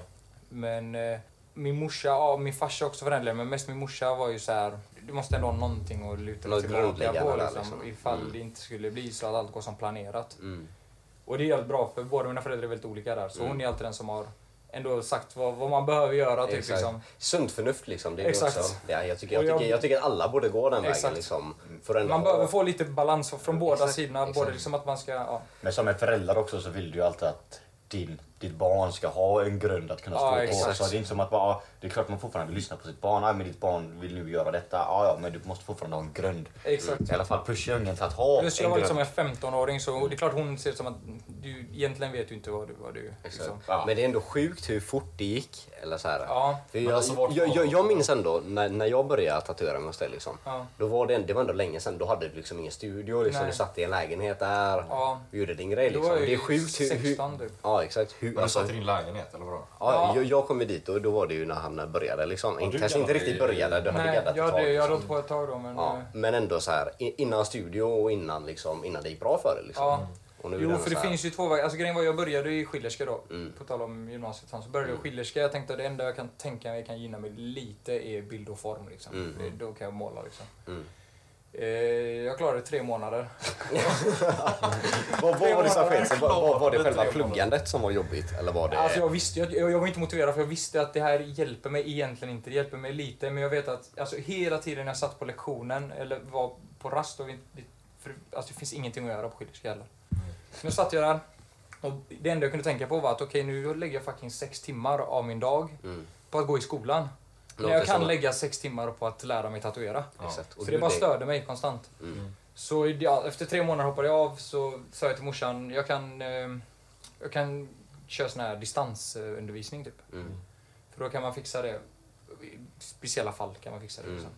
[SPEAKER 1] Men eh, min morsa, ja, min farsa också för den delen, men mest min morsa var ju så här. Du måste ändå ha någonting att luta dig
[SPEAKER 5] Något
[SPEAKER 1] tillbaka
[SPEAKER 5] grundläggande
[SPEAKER 1] på
[SPEAKER 5] där,
[SPEAKER 1] liksom,
[SPEAKER 5] liksom.
[SPEAKER 1] ifall
[SPEAKER 5] Mm.
[SPEAKER 1] det inte skulle bli så att allt går som planerat.
[SPEAKER 5] Mm.
[SPEAKER 1] Och det är jävligt bra för båda mina föräldrar är väldigt olika där. Så hon är alltid den som har ändå sagt vad, vad man behöver göra. Typ,
[SPEAKER 5] Exakt.
[SPEAKER 1] liksom.
[SPEAKER 5] Sunt förnuft liksom. Det är ju
[SPEAKER 1] Exakt.
[SPEAKER 5] också, ja, jag, tycker, jag,
[SPEAKER 1] Och jag-
[SPEAKER 5] tycker, jag tycker att alla borde gå den
[SPEAKER 1] Exakt.
[SPEAKER 5] vägen. Liksom, för att ändå
[SPEAKER 1] Man
[SPEAKER 5] ha-
[SPEAKER 1] behöver få lite balans från båda
[SPEAKER 5] Exakt,
[SPEAKER 1] sidorna. Både
[SPEAKER 5] exakt.
[SPEAKER 1] liksom att man ska... Ja.
[SPEAKER 2] Men som en förälder också så vill du ju alltid att din, ditt barn ska ha en grund att kunna
[SPEAKER 1] Ja,
[SPEAKER 2] stå på.
[SPEAKER 1] exakt.
[SPEAKER 2] Så det är inte som att bara, ah, det är klart man fortfarande vill lyssna på sitt barn. Ah, men ditt barn vill nu göra detta. Ah, ja, men du måste fortfarande ha en grund.
[SPEAKER 1] Exakt.
[SPEAKER 2] I alla fall pusha ungen till att ha
[SPEAKER 1] Plus jag
[SPEAKER 2] en
[SPEAKER 1] var
[SPEAKER 2] grund.
[SPEAKER 1] liksom en 15-åring så det är klart hon ser ut som att du egentligen vet du inte vad du... Vad du
[SPEAKER 5] Exakt.
[SPEAKER 1] liksom.
[SPEAKER 2] Ja.
[SPEAKER 5] Men det är ändå sjukt hur fort det gick. Eller så här.
[SPEAKER 1] Ja.
[SPEAKER 5] För
[SPEAKER 3] Men
[SPEAKER 5] jag,
[SPEAKER 3] alltså, vart
[SPEAKER 5] jag,
[SPEAKER 3] var
[SPEAKER 5] jag,
[SPEAKER 3] det?
[SPEAKER 5] jag minns ändå när, när jag började tatuera mig hos dig. Liksom,
[SPEAKER 1] Ja.
[SPEAKER 5] då var det, det var ändå länge sedan. Då hade du liksom ingen studio. Liksom,
[SPEAKER 1] Nej.
[SPEAKER 5] du satt i en lägenhet där
[SPEAKER 1] Ja.
[SPEAKER 5] och gjorde din grej.
[SPEAKER 1] Då
[SPEAKER 5] Liksom.
[SPEAKER 1] var jag
[SPEAKER 5] Det är
[SPEAKER 1] ju
[SPEAKER 5] sjukt hur... hur
[SPEAKER 1] 16 typ.
[SPEAKER 5] ja, exakt. Hur,
[SPEAKER 3] Men du
[SPEAKER 5] alltså,
[SPEAKER 3] satt i din lägenhet eller vadå?
[SPEAKER 5] ja,
[SPEAKER 1] Ja.
[SPEAKER 5] jag, jag kom ju dit och då var det ju när han började. Liksom.
[SPEAKER 3] du
[SPEAKER 5] Kanske inte
[SPEAKER 3] gaddade
[SPEAKER 5] riktigt
[SPEAKER 3] ju-
[SPEAKER 5] började. Du hade
[SPEAKER 1] Nej,
[SPEAKER 5] gaddat ett
[SPEAKER 1] jag
[SPEAKER 5] tag,
[SPEAKER 1] hade, jag
[SPEAKER 5] liksom.
[SPEAKER 1] hade hållit på ett tag då men...
[SPEAKER 5] ja,
[SPEAKER 1] eh,
[SPEAKER 5] Men ändå så här, i- innan studio och innan, liksom, innan det gick bra för dig. Liksom.
[SPEAKER 1] Ja.
[SPEAKER 5] Och nu är
[SPEAKER 1] Jo,
[SPEAKER 5] ändå
[SPEAKER 1] för det
[SPEAKER 5] så här- Mm.
[SPEAKER 1] finns ju två vägar. Alltså grejen var jag började i skillerska då. På tal om gymnasiet så började jag i skillerska. Jag tänkte att det enda jag kan tänka mig kan gynna mig lite är bild och form liksom.
[SPEAKER 5] Mm,
[SPEAKER 1] Det- Då kan jag måla liksom. Eh, jag klarade tre månader.
[SPEAKER 5] Vad vad var det som
[SPEAKER 1] månader.
[SPEAKER 5] skedde? Var, var, var det själva
[SPEAKER 3] Tre månader.
[SPEAKER 5] pluggandet som var jobbigt? Eller var det...
[SPEAKER 1] Alltså jag visste jag, jag, jag var inte motiverad för jag visste att det här hjälper mig egentligen inte. Det hjälper mig lite men jag vet att alltså, hela tiden när jag satt på lektionen eller var på rast och vi, för, alltså, det finns ingenting att göra på skillerska heller. Nu satt jag där och det enda jag kunde tänka på var att okej nu lägger jag fucking sex timmar av min dag på att gå i skolan. När
[SPEAKER 5] Mm. Låter
[SPEAKER 1] jag kan
[SPEAKER 5] som-
[SPEAKER 1] lägga sex timmar på att lära mig tatuera.
[SPEAKER 5] Exakt. Och
[SPEAKER 1] Så
[SPEAKER 5] du
[SPEAKER 1] det bara
[SPEAKER 5] tänk-
[SPEAKER 3] Mm.
[SPEAKER 2] Mm.
[SPEAKER 1] störde mig konstant. Så i- ja, efter tre månader hoppade jag av så sa jag till morsan, jag kan, eh, jag kan köra sån här distansundervisning typ.
[SPEAKER 5] Mm.
[SPEAKER 1] För då kan man fixa det. I speciella fall kan man fixa det.
[SPEAKER 5] Mm.
[SPEAKER 1] Liksom.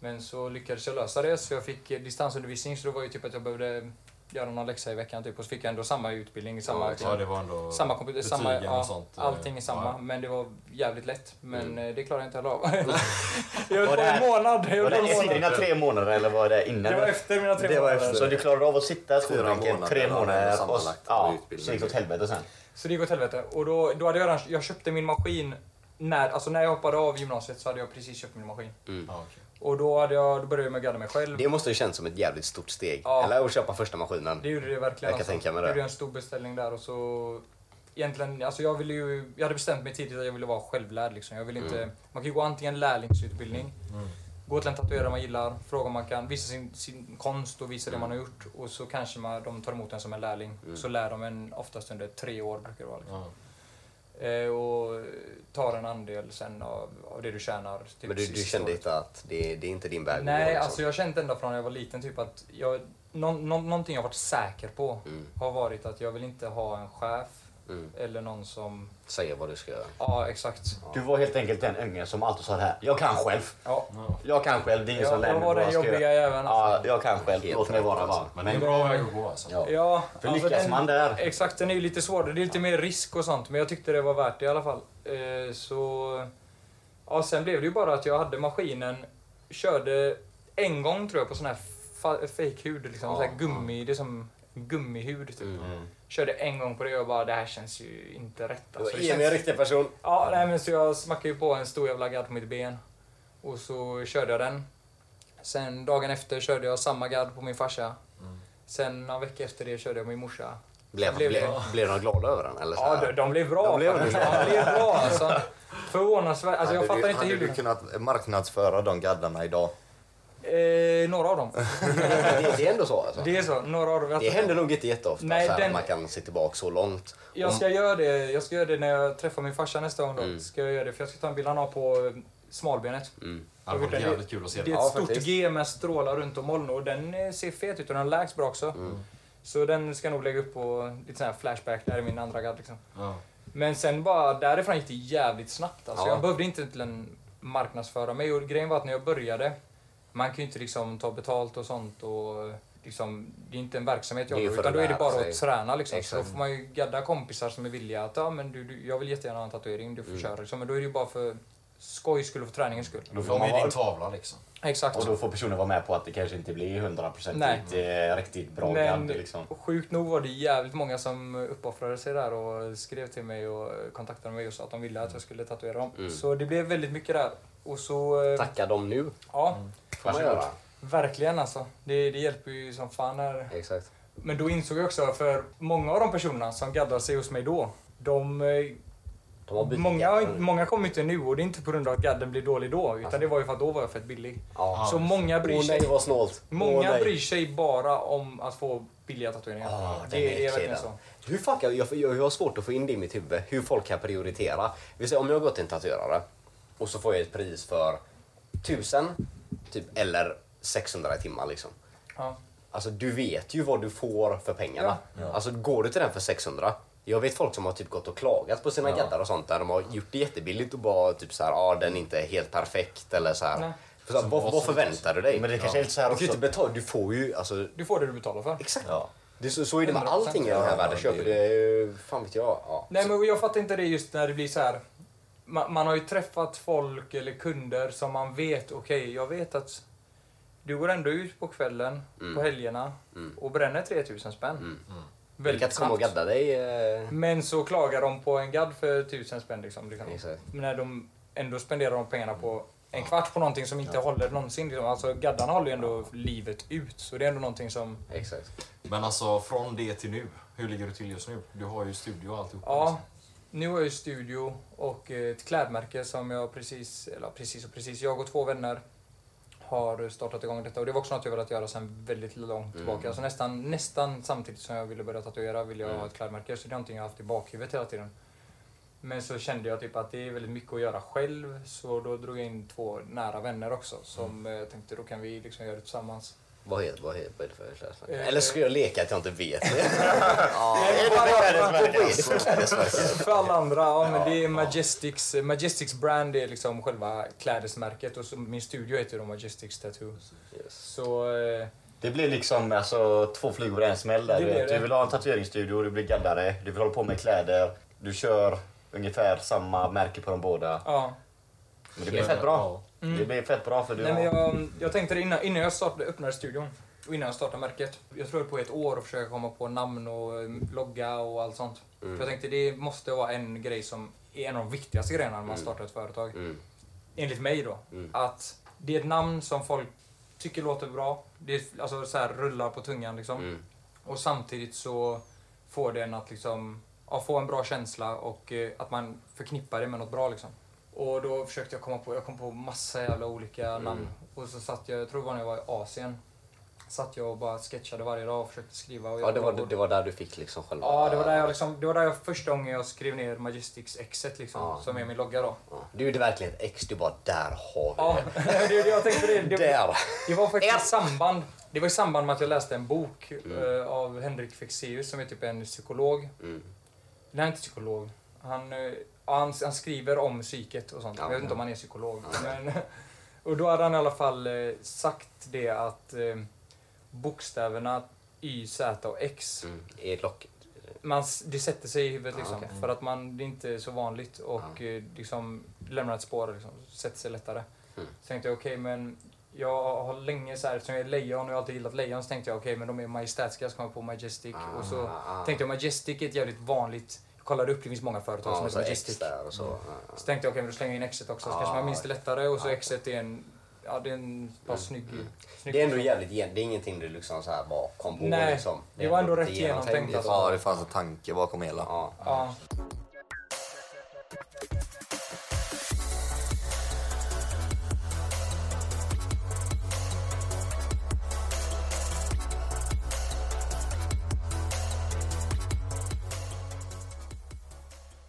[SPEAKER 1] Men så lyckades jag lösa det, så jag fick eh, distansundervisning. Så det var ju typ att jag behövde göra någon läxa i veckan. Typ, och så fick jag ändå samma utbildning, samma,
[SPEAKER 5] exakt.
[SPEAKER 3] Ja, det var ändå
[SPEAKER 1] samma kompetens, samma,
[SPEAKER 3] betygen och
[SPEAKER 1] ja,
[SPEAKER 3] sånt, eh,
[SPEAKER 1] allting är samma.
[SPEAKER 3] ja.
[SPEAKER 1] Men det var jävligt lätt. Men
[SPEAKER 5] Mm.
[SPEAKER 1] eh, det klarade jag inte
[SPEAKER 3] [LAUGHS]
[SPEAKER 1] heller av. jag höll
[SPEAKER 2] Var
[SPEAKER 1] på
[SPEAKER 2] det-
[SPEAKER 1] en månad. Jag höll på
[SPEAKER 2] Var det
[SPEAKER 1] en
[SPEAKER 2] efter
[SPEAKER 1] månad.
[SPEAKER 2] dina tre månader eller var det innan?
[SPEAKER 1] Det var efter mina tre
[SPEAKER 5] Det var
[SPEAKER 1] månader.
[SPEAKER 5] efter.
[SPEAKER 2] Så du klarade av att sitta i
[SPEAKER 5] Fyra
[SPEAKER 2] skolbänken
[SPEAKER 5] månader,
[SPEAKER 2] tre
[SPEAKER 5] ja,
[SPEAKER 2] månader och
[SPEAKER 5] sammanlagt,
[SPEAKER 2] ja,
[SPEAKER 5] utbildning.
[SPEAKER 2] så gick det åt helvete sen?
[SPEAKER 1] Så det gick åt helvete. Och då, då hade jag redan, jag köpte min maskin när, alltså när jag hoppade av gymnasiet så hade jag precis köpt min maskin.
[SPEAKER 3] Ja, okej.
[SPEAKER 1] Och då, hade jag, då började jag med att gadda mig själv.
[SPEAKER 5] Mm. Det måste ju kännas som ett jävligt stort steg.
[SPEAKER 1] Ja.
[SPEAKER 5] Eller att köpa första maskinen.
[SPEAKER 1] Det gjorde det verkligen. alltså.
[SPEAKER 5] Jag kan tänka mig det.
[SPEAKER 1] gjorde en stor beställning där och så... Egentligen, alltså jag ville ju... Jag hade bestämt mig tidigt att jag ville vara självlärd liksom. Jag ville inte...
[SPEAKER 5] Mm.
[SPEAKER 1] Man kan ju gå antingen lärlingsutbildning, gå till en tatuerare man gillar, fråga om man kan visa sin, sin konst och visa
[SPEAKER 5] Mm.
[SPEAKER 1] det man har gjort. Och så kanske man, de tar emot en som en lärling. Så lär de en oftast under tre år brukar det vara. Liksom.
[SPEAKER 3] Ja.
[SPEAKER 1] Eh, och tar en andel sen av, av det du tjänar. typ
[SPEAKER 5] Men du, du
[SPEAKER 1] sist
[SPEAKER 5] kände
[SPEAKER 1] året.
[SPEAKER 5] inte att det, det är inte din väg? att gå,
[SPEAKER 1] Nej,
[SPEAKER 5] liksom.
[SPEAKER 1] alltså jag har känt ända från när jag var liten typ att jag, nå, nå, någonting jag varit säker på
[SPEAKER 5] Mm.
[SPEAKER 1] har varit att jag vill inte ha en chef
[SPEAKER 5] Mm.
[SPEAKER 1] eller någon som...
[SPEAKER 5] Säga vad du ska göra.
[SPEAKER 1] Ja, exakt.
[SPEAKER 2] Du var helt enkelt den ungen som alltid sa det här. Jag kan själv.
[SPEAKER 1] Ja.
[SPEAKER 2] Jag kan själv. Det är ingen som
[SPEAKER 1] Jag,
[SPEAKER 2] lär
[SPEAKER 1] jag
[SPEAKER 2] mig
[SPEAKER 1] var
[SPEAKER 2] vad
[SPEAKER 1] den
[SPEAKER 2] jag ska
[SPEAKER 1] jobbiga
[SPEAKER 2] göra.
[SPEAKER 1] jäveln.
[SPEAKER 2] Ja,
[SPEAKER 1] Alltså.
[SPEAKER 2] jag kan själv.
[SPEAKER 5] Helt
[SPEAKER 2] Låt mig
[SPEAKER 5] rätt,
[SPEAKER 2] vara
[SPEAKER 5] alltså.
[SPEAKER 2] varm.
[SPEAKER 3] Men det är en bra väg att gå alltså.
[SPEAKER 2] Ja.
[SPEAKER 1] Ja,
[SPEAKER 2] För lyckas
[SPEAKER 1] den-
[SPEAKER 2] man där.
[SPEAKER 1] Exakt, den är ju lite svårare. Det är lite mer risk och sånt, men jag tyckte det var värt det i alla fall. Eh, så... Ja, sen blev det ju bara att jag hade maskinen, körde en gång tror jag på sån här fa- fake-hud, liksom,
[SPEAKER 5] Ja, Mm.
[SPEAKER 1] så här gummi, det är som gummihud typ. Körde en gång på det och jag bara, det här känns ju inte rätt. Alltså, det
[SPEAKER 5] Ge mig en
[SPEAKER 1] känns...
[SPEAKER 5] riktig person.
[SPEAKER 1] Ja, nej, men så jag smackade ju på en stor jävla gadd på mitt ben. Och så körde jag den. Sen dagen efter körde jag samma gadd på min farsa.
[SPEAKER 5] Mm.
[SPEAKER 1] Sen några veckor efter det körde jag min morsa.
[SPEAKER 5] Blev,
[SPEAKER 1] Blev-
[SPEAKER 5] blev, blev de glada över den? Eller så
[SPEAKER 1] Ja,
[SPEAKER 5] här?
[SPEAKER 1] de, de blev bra.
[SPEAKER 5] De blev
[SPEAKER 1] faktiskt. de blev bra alltså. Förvånansvärt. Alltså, jag
[SPEAKER 4] hade
[SPEAKER 1] fattar
[SPEAKER 4] du,
[SPEAKER 1] inte
[SPEAKER 4] hade
[SPEAKER 1] hur...
[SPEAKER 4] du kunnat marknadsföra de gaddarna idag?
[SPEAKER 1] Eh, några av dem.
[SPEAKER 5] det, det är ändå så alltså. Det,
[SPEAKER 1] Det är så. Några av dem. Alltså,
[SPEAKER 5] händer nog inte jätteofta
[SPEAKER 1] Nej,
[SPEAKER 5] så här,
[SPEAKER 1] den-
[SPEAKER 5] man kan se tillbaka så långt.
[SPEAKER 1] Jag ska göra det. Jag ska göra det när jag träffar min farsa nästa gång. Då.
[SPEAKER 5] Mm.
[SPEAKER 1] Ska jag göra det. För jag ska ta en bild han har på eh, smalbenet.
[SPEAKER 3] Det hade varit jävligt kul att
[SPEAKER 1] Det
[SPEAKER 3] se
[SPEAKER 1] är
[SPEAKER 3] det.
[SPEAKER 1] ett
[SPEAKER 5] Ja,
[SPEAKER 1] stort
[SPEAKER 5] faktiskt.
[SPEAKER 1] G med strålar runt om moln och den eh, ser fet ut och den läggs bra också.
[SPEAKER 5] Mm.
[SPEAKER 1] Så den ska jag nog lägga upp på lite sån här flashback, där i min andra gadd liksom.
[SPEAKER 3] Ja.
[SPEAKER 1] Men sen bara därifrån gick det jävligt snabbt. Alltså,
[SPEAKER 5] Ja.
[SPEAKER 1] Jag behövde inte egentligen marknadsföra mig. Och grejen var att när jag började, man kan ju inte liksom ta betalt och sånt. Och liksom, det är inte en verksamhet jag
[SPEAKER 5] Det är ju
[SPEAKER 1] har,
[SPEAKER 5] för
[SPEAKER 1] utan
[SPEAKER 5] att
[SPEAKER 1] då är det
[SPEAKER 5] lära
[SPEAKER 1] bara
[SPEAKER 5] sig.
[SPEAKER 1] att träna. Liksom. Så då
[SPEAKER 5] Exakt.
[SPEAKER 1] får man ju gadda kompisar som är villiga att ja, men du, du, jag vill jättegärna ha en tatuering, du
[SPEAKER 5] Mm.
[SPEAKER 1] får köra. Liksom. Men då är det ju bara för skojs skull och för träningens skull.
[SPEAKER 2] Då får
[SPEAKER 3] De
[SPEAKER 2] man
[SPEAKER 3] är
[SPEAKER 2] vara,
[SPEAKER 3] din tavla liksom.
[SPEAKER 1] Exakt.
[SPEAKER 2] och då får personen vara med på att det kanske inte blir 100%
[SPEAKER 1] Nej.
[SPEAKER 2] eh, riktigt bra
[SPEAKER 1] Men
[SPEAKER 2] gadd. Liksom.
[SPEAKER 1] sjukt nog var det jävligt många som uppoffrade sig där och skrev till mig och kontaktade mig och sa att de ville att jag skulle tatuera dem.
[SPEAKER 5] Mm.
[SPEAKER 1] Så det blev väldigt mycket där. Och så... eh,
[SPEAKER 5] Tacka dem nu.
[SPEAKER 1] Ja,
[SPEAKER 5] Får man göra.
[SPEAKER 1] verkligen alltså. Det, det hjälper ju som fan. Här.
[SPEAKER 5] Exakt.
[SPEAKER 1] Men då insåg jag också, för många av de personerna som gaddade sig hos mig då, de... eh,
[SPEAKER 5] De har bytt Mm.
[SPEAKER 1] Många, har
[SPEAKER 5] hjärtan
[SPEAKER 1] inte-
[SPEAKER 5] nu.
[SPEAKER 1] många kommer inte nu och det är inte på grund av att gadden blir dålig då, utan det var ju för att då var jag fett billig.
[SPEAKER 5] Alltså. Ja.
[SPEAKER 1] Så många bryr
[SPEAKER 5] Åh
[SPEAKER 1] sig
[SPEAKER 5] nej vad snålt.
[SPEAKER 1] Många
[SPEAKER 5] Åh, nej.
[SPEAKER 1] bryr sig bara om att få billiga tatueringar.
[SPEAKER 5] Ja, den
[SPEAKER 1] det, det är
[SPEAKER 5] äcklig,
[SPEAKER 1] verkligen
[SPEAKER 5] den.
[SPEAKER 1] så.
[SPEAKER 5] Hur fan kan, jag, jag, jag har svårt att få in det i mitt huvud, hur folk kan prioritera. Vi säger om jag går till en tatuerare och så får jag ett pris för 1000 typ, eller 600 i timmar liksom.
[SPEAKER 1] Ja.
[SPEAKER 5] Alltså du vet ju vad du får för pengarna. Alltså går du till den för 600, jag vet folk som har typ gått och klagat på sina gaddar och sånt där de har gjort det jättebilligt och bara typ så här, ah, den är inte helt perfekt eller så
[SPEAKER 1] Nej.
[SPEAKER 5] här. Så, här, vad, vad förväntar du dig?
[SPEAKER 2] Men det kanske är lite så här
[SPEAKER 5] Du kan ju
[SPEAKER 2] också.
[SPEAKER 5] inte betala, du får ju alltså
[SPEAKER 1] Du får det du betalar för.
[SPEAKER 5] Exakt.
[SPEAKER 2] Ja.
[SPEAKER 5] Det är så, så är det med allting i den här världen. Köper det, är- fan vet jag. Ja.
[SPEAKER 1] Nej, men jag fattar inte det just när det blir så här. Man, man har ju träffat folk eller kunder som man vet, okej, jag vet att du går ändå ut på kvällen, på
[SPEAKER 5] Mm.
[SPEAKER 1] helgerna och bränner 3000 spänn.
[SPEAKER 5] Du kan
[SPEAKER 1] Väldigt
[SPEAKER 5] inte komma och
[SPEAKER 1] snabbt.
[SPEAKER 5] gadda dig. eh,
[SPEAKER 1] Men så klagar de på en gadd för 1000 spänn liksom. liksom.
[SPEAKER 5] Exakt.
[SPEAKER 1] Men När de ändå spenderar de pengarna på en kvart på någonting som inte håller någonsin. Liksom. Alltså gaddarna håller ju ändå livet ut, så det är ändå någonting som
[SPEAKER 5] Exakt.
[SPEAKER 3] Men alltså från det till nu, hur ligger du till just nu? Du har ju studio och alltihopa.
[SPEAKER 1] Ja,
[SPEAKER 3] liksom.
[SPEAKER 1] nu har jag ju studio och eh, ett klädmärke som jag precis, eller precis och precis, jag och två vänner har startat igång detta och det var också något jag velat göra sedan väldigt långt tillbaka. Alltså nästan, nästan samtidigt som jag ville börja tatuera ville jag ha ett klädmärke så det är någonting jag haft i bakhuvudet hela tiden. Men så kände jag typ att det är väldigt mycket att göra själv så då drog jag in två nära vänner också som eh, tänkte då kan vi liksom göra det tillsammans.
[SPEAKER 5] Vad heter, vad heter, vad är det för klädsel?
[SPEAKER 1] Eh,
[SPEAKER 5] Eller ska jag leka att jag
[SPEAKER 1] [LAUGHS]
[SPEAKER 5] inte vet det?
[SPEAKER 1] Nej,
[SPEAKER 5] Vad
[SPEAKER 1] bara-
[SPEAKER 5] är det för klädesmärke?
[SPEAKER 1] För alla andra, ja, men det är Majestics, Majestics brand är liksom själva klädesmärket och så, min studio heter då Majestics Tattoo. Så eh,
[SPEAKER 2] Det blir liksom alltså, två flugor i en smäll där.
[SPEAKER 1] Det
[SPEAKER 2] Du
[SPEAKER 1] blir
[SPEAKER 2] vet,
[SPEAKER 1] det.
[SPEAKER 2] Du vill ha en tatueringsstudio, du blir gaddare, du vill hålla på med kläder, du kör ungefär samma märke på de båda.
[SPEAKER 1] ja.
[SPEAKER 2] Men det blir fett bra.
[SPEAKER 1] Mm.
[SPEAKER 2] Det blir fett bra för du
[SPEAKER 1] Nej, men
[SPEAKER 2] har...
[SPEAKER 1] jag, jag tänkte det innan, innan jag startade, öppnade studion och innan jag startade märket. Jag tror jag höll på i ett år och försöka komma på namn och eh, logga och allt sånt. För jag tänkte det måste vara en grej som är en av de viktigaste grejerna när man startar ett företag.
[SPEAKER 5] Mm.
[SPEAKER 1] enligt mig då, att det är ett namn som folk tycker låter bra. Det är, alltså så här rullar på tungan liksom.
[SPEAKER 5] Mm.
[SPEAKER 1] Och samtidigt så får det en att liksom, ja, få en bra känsla och eh, att man förknippar det med något bra liksom. Och då försökte jag komma på, jag kom på massa jävla olika
[SPEAKER 5] Mm.
[SPEAKER 1] namn. Och så satt jag, jag tror det var när jag var i Asien, satt jag och bara sketchade varje dag och försökte skriva. Och
[SPEAKER 5] Ja, det var,
[SPEAKER 1] jag-
[SPEAKER 5] det var där du fick liksom själva...
[SPEAKER 1] Ja, det var där jag liksom, det var där jag första gången jag skrev ner Majestics Exet liksom,
[SPEAKER 5] Ja.
[SPEAKER 1] som är min logga då.
[SPEAKER 5] Ja. Du gjorde verkligen ett ex, du bara där har vi
[SPEAKER 1] Ja, [LAUGHS] det, jag tänkte det.
[SPEAKER 5] det.
[SPEAKER 1] det
[SPEAKER 5] Där!
[SPEAKER 1] Det var faktiskt i samband, det var i samband med att jag läste en bok eh, av Henrik Fexeus som är typ en psykolog. Nej,
[SPEAKER 5] Mm.
[SPEAKER 1] han är inte psykolog. Han, eh, ja, han, han skriver om psyket och sånt.
[SPEAKER 5] Ja.
[SPEAKER 1] jag vet inte om han är psykolog. Men, [LAUGHS] och då hade han i alla fall eh, sagt det att eh, bokstäverna Y, Z och X
[SPEAKER 5] Mm. Är lock...
[SPEAKER 1] man, s- det sätter sig i huvudet
[SPEAKER 5] Ah,
[SPEAKER 1] liksom.
[SPEAKER 5] okej.
[SPEAKER 1] För att man, det är inte så vanligt och eh, liksom lämnar ett spår liksom, sätter sig lättare.
[SPEAKER 5] Mm.
[SPEAKER 1] Så tänkte jag okej men jag har länge så här, eftersom jag är lejon och jag har alltid gillat lejon så tänkte jag okej men de är majestätiska så kom jag på Majestic.
[SPEAKER 5] Ah,
[SPEAKER 1] och så
[SPEAKER 5] ah.
[SPEAKER 1] tänkte jag Majestic är ett jävligt vanligt, jag kollade upp det finns många företag
[SPEAKER 5] Ja,
[SPEAKER 1] som Mm.
[SPEAKER 5] och
[SPEAKER 1] heter
[SPEAKER 5] så ex
[SPEAKER 1] Majestic.
[SPEAKER 5] där och så. Ja, ja.
[SPEAKER 1] Så tänkte jag okej men då slänger jag in exet också så
[SPEAKER 5] Ah,
[SPEAKER 1] kanske man minns det lättare och så
[SPEAKER 5] ah.
[SPEAKER 1] exet är en, ja det är en bara snygg, snygg
[SPEAKER 5] mm. Det är ändå jävligt... gen- Det är ingenting du liksom så här bara kom på
[SPEAKER 1] Nej,
[SPEAKER 5] liksom.
[SPEAKER 1] det var ändå rätt genomtänkt, alltså.
[SPEAKER 4] Ja, det fanns en tanke bakom hela.
[SPEAKER 5] Ja.
[SPEAKER 1] Ja.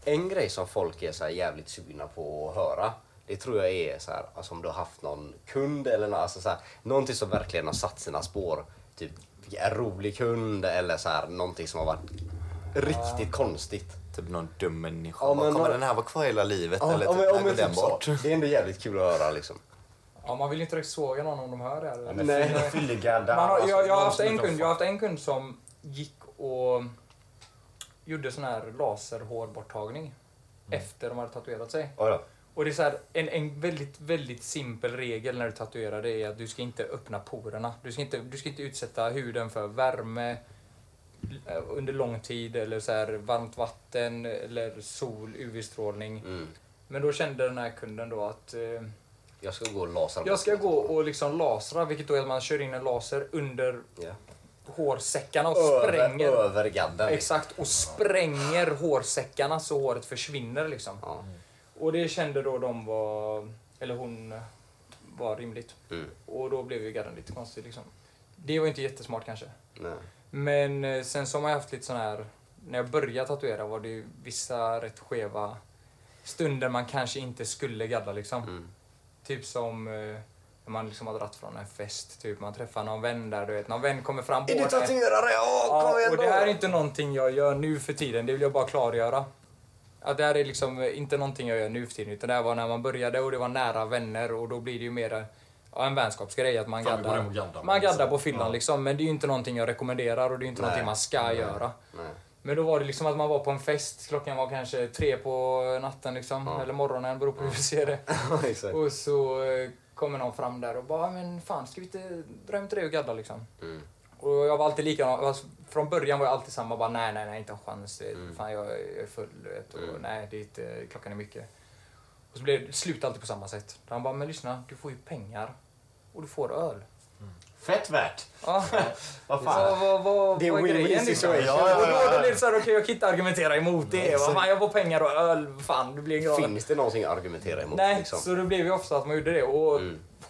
[SPEAKER 5] En grej som folk är så här jävligt sugna på att höra, det tror jag är så här, alltså om du har haft någon kund eller nå- alltså så här, någonting som verkligen har satt sina spår. Typ en rolig kund eller så här, någonting som har varit riktigt konstigt.
[SPEAKER 4] Typ någon dum människa.
[SPEAKER 5] Ja,
[SPEAKER 4] Bara,
[SPEAKER 5] men
[SPEAKER 4] kommer
[SPEAKER 5] nå-
[SPEAKER 4] den här vara kvar hela livet?
[SPEAKER 5] Ja,
[SPEAKER 4] eller
[SPEAKER 5] ja,
[SPEAKER 4] typ, när
[SPEAKER 5] men- ja, men
[SPEAKER 4] går den
[SPEAKER 5] typ så.
[SPEAKER 4] bort?
[SPEAKER 5] Det är ändå jävligt kul att höra liksom.
[SPEAKER 1] ja, man vill inte riktigt såga någon om de hör det här.
[SPEAKER 2] Men
[SPEAKER 5] Nej.
[SPEAKER 2] fyll- Fyllegaddar.
[SPEAKER 1] Man har,
[SPEAKER 2] alltså,
[SPEAKER 1] jag, jag, har
[SPEAKER 2] någon
[SPEAKER 1] haft
[SPEAKER 2] som
[SPEAKER 1] en
[SPEAKER 2] inte har
[SPEAKER 1] kund, jag har haft en kund som gick och gjorde sån här laserhårborttagning
[SPEAKER 2] Mm.
[SPEAKER 1] efter de hade tatuerat sig.
[SPEAKER 2] Oj då.
[SPEAKER 1] Och det är så här, en, en väldigt, väldigt simpel regel när du tatuerar det är att du ska inte öppna porerna. Du ska inte, du ska inte utsätta huden för värme eh, under lång tid eller så här varmt vatten eller sol, UV-strålning.
[SPEAKER 5] Mm.
[SPEAKER 1] Men då kände den här kunden då att eh,
[SPEAKER 5] Jag ska gå och lasra.
[SPEAKER 1] jag ska gå och liksom lasra, vilket då är att man kör in en laser under
[SPEAKER 5] Ja.
[SPEAKER 1] hårsäckarna och
[SPEAKER 5] Över,
[SPEAKER 1] spränger.
[SPEAKER 5] över gadden.
[SPEAKER 1] Exakt, och spränger hårsäckarna så håret försvinner liksom.
[SPEAKER 5] Ja.
[SPEAKER 1] Och det kände då de var, eller hon, var rimligt.
[SPEAKER 5] Mm.
[SPEAKER 1] Och då blev ju garden lite konstig liksom. Det var inte jättesmart kanske.
[SPEAKER 5] Nej.
[SPEAKER 1] Men eh, sen så har man haft lite sån här, när jag började tatuera var det ju vissa rätt skeva stunder man kanske inte skulle gadda liksom.
[SPEAKER 5] Mm.
[SPEAKER 1] Typ som eh, när man liksom har dragit från en fest, typ man träffar någon vän där, du vet. Någon vän kommer fram
[SPEAKER 5] Är du
[SPEAKER 1] hårt efter-
[SPEAKER 5] tatuerare? Ja, kom
[SPEAKER 1] Ja,
[SPEAKER 5] igen
[SPEAKER 1] och
[SPEAKER 5] då!
[SPEAKER 1] det här är inte någonting jag gör nu för tiden, det vill jag bara klargöra. Ja, det här är liksom inte någonting jag gör nu för tiden, utan det här var när man började och det var nära vänner och då blir det ju mer ja, en vänskapsgrej att man
[SPEAKER 3] Fan, vi går
[SPEAKER 1] gaddar.
[SPEAKER 3] hem och gaddar.
[SPEAKER 1] Man gaddar på fyllan
[SPEAKER 3] Ja.
[SPEAKER 1] liksom, men det är ju inte någonting jag rekommenderar och det är ju inte
[SPEAKER 5] Nej.
[SPEAKER 1] någonting man ska göra.
[SPEAKER 5] Nej.
[SPEAKER 1] Men då var det liksom att man var på en fest, klockan var kanske tre på natten liksom, eller morgonen, beror på hur du ser det.
[SPEAKER 5] [LAUGHS] Ja, exakt.
[SPEAKER 1] Och så eh, kommer någon fram där och bara, men fan ska vi inte dra hem till dig och gadda liksom?
[SPEAKER 5] Mm.
[SPEAKER 1] Och jag var alltid likadan. Alltså, från början var jag alltid samma. Bara, nej, nej, nej, inte en chans.
[SPEAKER 5] Mm.
[SPEAKER 1] Fan, jag jag är full. du Vet, och, Nej, det är inte, klockan är mycket. Och så blev det slut alltid på samma sätt. Han bara, men lyssna, du får ju pengar och du får öl. Ah.
[SPEAKER 2] Fett värt!
[SPEAKER 1] Ja,
[SPEAKER 2] Vad
[SPEAKER 1] vad,
[SPEAKER 2] fan.
[SPEAKER 1] vad, vad,
[SPEAKER 5] Det är
[SPEAKER 1] vad
[SPEAKER 5] win-win
[SPEAKER 1] grejen liksom?
[SPEAKER 5] situation.
[SPEAKER 1] Och
[SPEAKER 2] Ja, ja,
[SPEAKER 1] då,
[SPEAKER 2] ja,
[SPEAKER 1] då
[SPEAKER 2] ja.
[SPEAKER 1] blir det såhär, okej jag kan inte argumentera emot det. Vad fan, jag får pengar och öl, fan det blir en grav.
[SPEAKER 5] Finns det någonting att argumentera emot?
[SPEAKER 1] Nej,
[SPEAKER 5] liksom? Mm.
[SPEAKER 1] så det blev ju ofta att man gjorde det. Och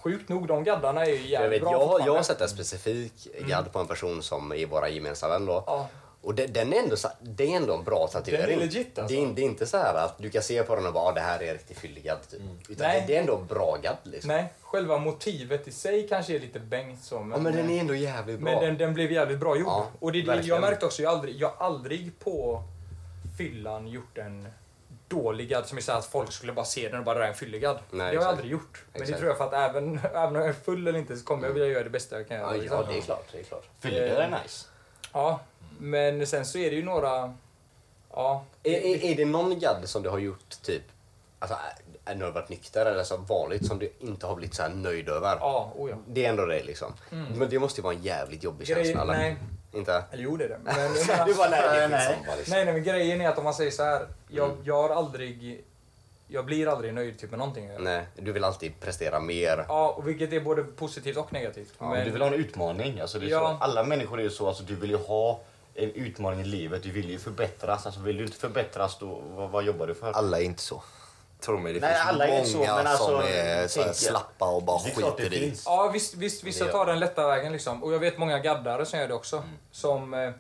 [SPEAKER 1] sjukt nog, de gaddarna är ju
[SPEAKER 5] Jag,
[SPEAKER 1] jävligt
[SPEAKER 5] vet,
[SPEAKER 1] bra
[SPEAKER 5] jag, har- jag
[SPEAKER 1] fortfarande.
[SPEAKER 5] har sett en specifik gadd på en person som är våra gemensamma vän då.
[SPEAKER 1] Ja.
[SPEAKER 5] Och de- den är ändå, så- det är ändå en bra tatuering.
[SPEAKER 6] Den är legit, alltså.
[SPEAKER 5] det, är, det är inte så här att du kan se på den och bara ah, det här är riktigt fylligad typ. Utan
[SPEAKER 1] Nej.
[SPEAKER 5] det, det är ändå bra gadd liksom.
[SPEAKER 1] Nej, själva motivet i sig kanske är lite bängt så.
[SPEAKER 5] Ja, men den är ändå jävligt bra.
[SPEAKER 1] Men den, den blev jävligt bra gjord.
[SPEAKER 5] Ja,
[SPEAKER 1] och det, det jag
[SPEAKER 5] verkligen.
[SPEAKER 1] märkte också, jag har aldrig, jag har aldrig på fyllan gjort en dåligad som är så här att folk skulle bara se den och bara "Det där är en fylligad.
[SPEAKER 5] Nej,
[SPEAKER 1] det har jag
[SPEAKER 5] exakt.
[SPEAKER 1] aldrig gjort. Men det
[SPEAKER 5] Exakt. Mm.
[SPEAKER 1] tror jag för att även, även om jag är full eller inte så kommer jag vilja göra det bästa jag kan göra.
[SPEAKER 5] Ja,
[SPEAKER 1] liksom.
[SPEAKER 5] ja, det är klart. Det är klart.
[SPEAKER 3] Fylligare är nice.
[SPEAKER 1] Ja, men sen så är det ju några... Ja,
[SPEAKER 5] Är, är, är det någon gadd som du har gjort typ, alltså är- är- när du varit nykter eller så vanligt som du inte har blivit så här nöjd över?
[SPEAKER 1] ja, oh ja.
[SPEAKER 5] Det är ändå det liksom. Men det måste ju vara en jävligt jobbig
[SPEAKER 1] Grej-
[SPEAKER 5] känsla eller?
[SPEAKER 1] nej.
[SPEAKER 5] Inte?
[SPEAKER 1] Eller jo, det är det.
[SPEAKER 5] [LAUGHS]
[SPEAKER 1] Men, jag menar-
[SPEAKER 5] Du bara nej, det
[SPEAKER 2] Nej,
[SPEAKER 5] finns
[SPEAKER 2] nej.
[SPEAKER 5] samma liksom.
[SPEAKER 1] Nej, nej, men grejen är att om man säger så här. Jag,
[SPEAKER 5] Mm.
[SPEAKER 1] jag har aldrig... Jag blir aldrig nöjd typ med någonting. jag gör.
[SPEAKER 5] Nej, du vill alltid prestera mer.
[SPEAKER 1] Ja, och vilket är både positivt och negativt.
[SPEAKER 2] Ja, men... Du vill ha en utmaning. Alltså det är
[SPEAKER 1] Ja.
[SPEAKER 2] så. Alla människor är ju så. Alltså du vill ju ha en utmaning i livet. Du vill ju förbättras. Alltså vill du inte förbättras, då, vad, vad jobbar du för?
[SPEAKER 4] Alla är inte så. Tror mig, det
[SPEAKER 2] Nej,
[SPEAKER 4] finns
[SPEAKER 2] alla är
[SPEAKER 4] många
[SPEAKER 2] inte så, men alltså,
[SPEAKER 4] som är så här
[SPEAKER 2] tänk-
[SPEAKER 4] slappa och bara
[SPEAKER 2] det är klart
[SPEAKER 4] skiter
[SPEAKER 2] det
[SPEAKER 4] i.
[SPEAKER 2] finns.
[SPEAKER 1] Ja, visst, visst vissa tar den lätta vägen liksom. Och jag vet många gaddare som gör det också.
[SPEAKER 5] Mm.
[SPEAKER 1] Som... eh,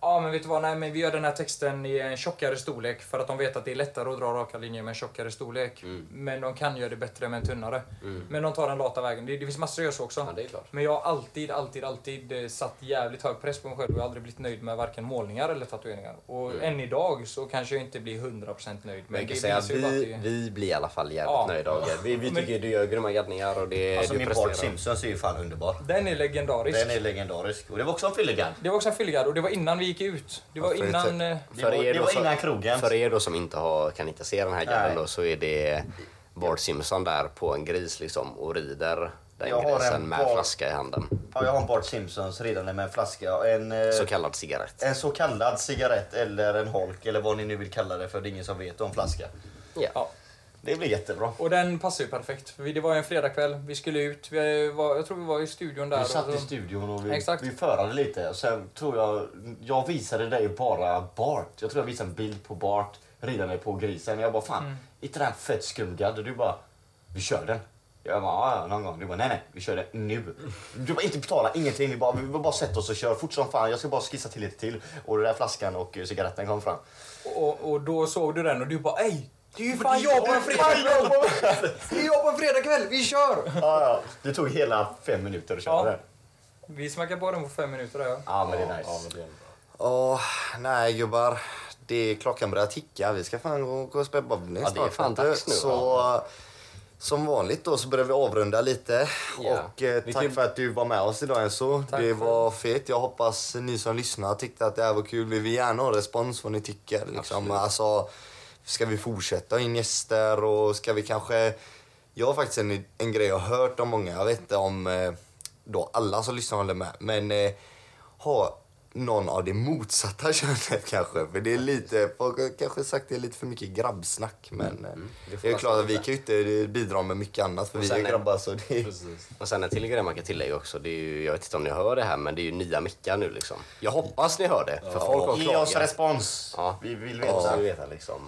[SPEAKER 1] Ja, men vet du vad? Nej, men vi gör den här texten i en tjockare storlek för att de vet att det är lättare att dra raka linjer med en tjockare storlek.
[SPEAKER 5] Mm.
[SPEAKER 1] Men de kan göra det bättre med en tunnare. Men de tar den lata vägen. Det, det finns massor att göra så också.
[SPEAKER 5] Ja, det är klart.
[SPEAKER 1] Men jag har alltid, alltid, alltid eh, satt jävligt hög press på mig själv och jag har aldrig blivit nöjd med varken målningar eller tatueringar. Och än idag så kanske jag inte blir 100% nöjd.
[SPEAKER 5] Men jag
[SPEAKER 1] det
[SPEAKER 5] kan säga att
[SPEAKER 1] visar ju bara att
[SPEAKER 5] vi,
[SPEAKER 1] det-
[SPEAKER 5] vi blir i alla fall jävligt
[SPEAKER 1] Ja.
[SPEAKER 5] nöjda av det. Vi, vi
[SPEAKER 1] Men-
[SPEAKER 5] tycker du gör grymma gaddningar och det
[SPEAKER 2] Alltså
[SPEAKER 5] du
[SPEAKER 2] min
[SPEAKER 5] presterar.
[SPEAKER 2] Bart Simpsons är ju fan underbar.
[SPEAKER 1] Den är legendarisk.
[SPEAKER 2] Den är legendarisk. Och det var också en fyllegard.
[SPEAKER 1] Det var också en fyllegard och det var innan vi gick ut. Det var
[SPEAKER 5] Varför är det
[SPEAKER 1] innan... eh,
[SPEAKER 2] Det
[SPEAKER 5] För
[SPEAKER 2] var,
[SPEAKER 5] er
[SPEAKER 2] det
[SPEAKER 5] då
[SPEAKER 2] var
[SPEAKER 5] så-
[SPEAKER 2] innan krogen.
[SPEAKER 5] För er då som inte har, kan inte se den här gadden
[SPEAKER 2] Nej.
[SPEAKER 5] då så är det Bart Simpson där på en gris liksom och rider den
[SPEAKER 2] Jag har en
[SPEAKER 5] grisen med
[SPEAKER 2] Bart-
[SPEAKER 5] flaska i handen.
[SPEAKER 2] Ja, jag har en Bart Simpsons ridande med en flaska. En, eh,
[SPEAKER 5] Så kallad cigarett.
[SPEAKER 2] en så kallad cigarett eller en holk eller vad ni nu vill kalla det för det är ingen som vet om flaska.
[SPEAKER 1] Ja.
[SPEAKER 2] Det blir jättebra.
[SPEAKER 1] Och den passar ju perfekt. För vi- Det var ju en fredagkväll, vi skulle ut, vi eh, var, jag tror vi var i studion där.
[SPEAKER 2] Vi
[SPEAKER 1] och
[SPEAKER 2] satt i
[SPEAKER 1] så-
[SPEAKER 2] studion och vi,
[SPEAKER 1] Exakt.
[SPEAKER 2] vi förade lite. Sen tror jag, jag visade dig bara Bart. Jag tror jag visade en bild på Bart ridande på grisen. Jag bara fan,
[SPEAKER 1] Mm.
[SPEAKER 2] inte den fett skumgad? Och du bara, vi kör den. Jag bara, "Ja, ja, någon gång. Du bara, nej nej, vi kör den nu. Du bara, inte betala ingenting. Vi bara, vi bara sätt oss och kör fort som fan. Jag ska bara skissa till lite till. Och den där flaskan och eh, cigaretten kom fram.
[SPEAKER 1] Och, och då såg du den och du bara ej! Det är ju fan jag på en fredagkväll! Det är jag på en fredagkväll, vi kör!
[SPEAKER 2] Ja, ja. Det tog hela fem minuter att köra
[SPEAKER 1] Ja.
[SPEAKER 2] den.
[SPEAKER 1] Vi smackade på den på fem minuter där ja.
[SPEAKER 2] Ja, men det är nice.
[SPEAKER 3] Ja, men det är en bra.
[SPEAKER 4] Ja, nej gubbar. Det är, klockan börjar ticka. Vi ska fan gå, gå och spela bowling
[SPEAKER 5] Ja, det är
[SPEAKER 4] snart,
[SPEAKER 5] fan
[SPEAKER 4] vet du.
[SPEAKER 5] dags nu,
[SPEAKER 4] Så
[SPEAKER 5] ja.
[SPEAKER 4] som vanligt då så börjar vi avrunda lite.
[SPEAKER 5] Ja.
[SPEAKER 4] Och eh,
[SPEAKER 5] Vi
[SPEAKER 4] tack
[SPEAKER 5] kan-
[SPEAKER 4] för att du var med oss idag Enzo.
[SPEAKER 1] Tack
[SPEAKER 4] det
[SPEAKER 1] för-
[SPEAKER 4] var fett. Jag hoppas ni som lyssnar tyckte att det här var kul. Vi vill gärna ha respons vad ni tycker. Liksom. Alltså, ska vi fortsätta ha in gäster och ska vi kanske... Jag har faktiskt en, en grej jag har hört om många. Jag vet inte om eh, då alla som lyssnar håller med. Men eh, ha någon av det motsatta [LAUGHS] könet kanske. För det är lite, folk har kanske sagt det är lite för mycket grabbsnack. Men eh,
[SPEAKER 5] det Mm. får
[SPEAKER 4] det är
[SPEAKER 5] man
[SPEAKER 4] klart att
[SPEAKER 5] säga.
[SPEAKER 4] vi kan ju inte bidra med mycket annat för
[SPEAKER 5] Och
[SPEAKER 4] vi är
[SPEAKER 5] sen är-
[SPEAKER 4] grabbar så det är...
[SPEAKER 3] Precis.
[SPEAKER 5] Och sen en till grej man kan tillägga också, det är ju, jag vet inte om ni hör det här men det är ju nya mickar nu liksom. Jag hoppas ni hör det, för folk har
[SPEAKER 2] Ge oss
[SPEAKER 5] klagat.
[SPEAKER 2] respons.
[SPEAKER 5] Ja.
[SPEAKER 2] Vi vill
[SPEAKER 5] Vi måste
[SPEAKER 2] veta.
[SPEAKER 5] ju veta liksom.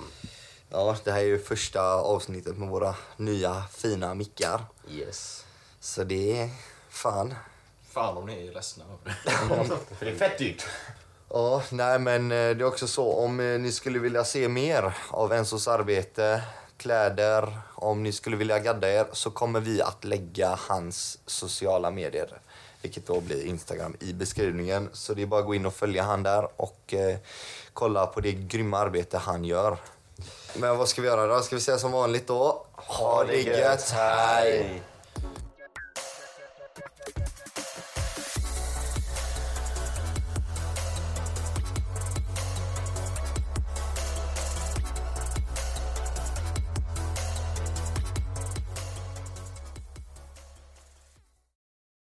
[SPEAKER 4] Ja, det här är ju första avsnittet med våra nya fina mickar.
[SPEAKER 5] Yes.
[SPEAKER 4] Så det är fan.
[SPEAKER 3] Fan om ni är ledsna över det.
[SPEAKER 2] För det är fett dyrt.
[SPEAKER 4] Ja, nej men eh, det är också så om eh, ni skulle vilja se mer av Enzos arbete, kläder, om ni skulle vilja gadda er så kommer vi att lägga hans sociala medier, vilket då blir Instagram, i beskrivningen. Så det är bara att gå in och följa han där och eh, kolla på det grymma arbete han gör. Men vad ska vi göra då? Ska vi säga som vanligt då? Ha det gött, hej!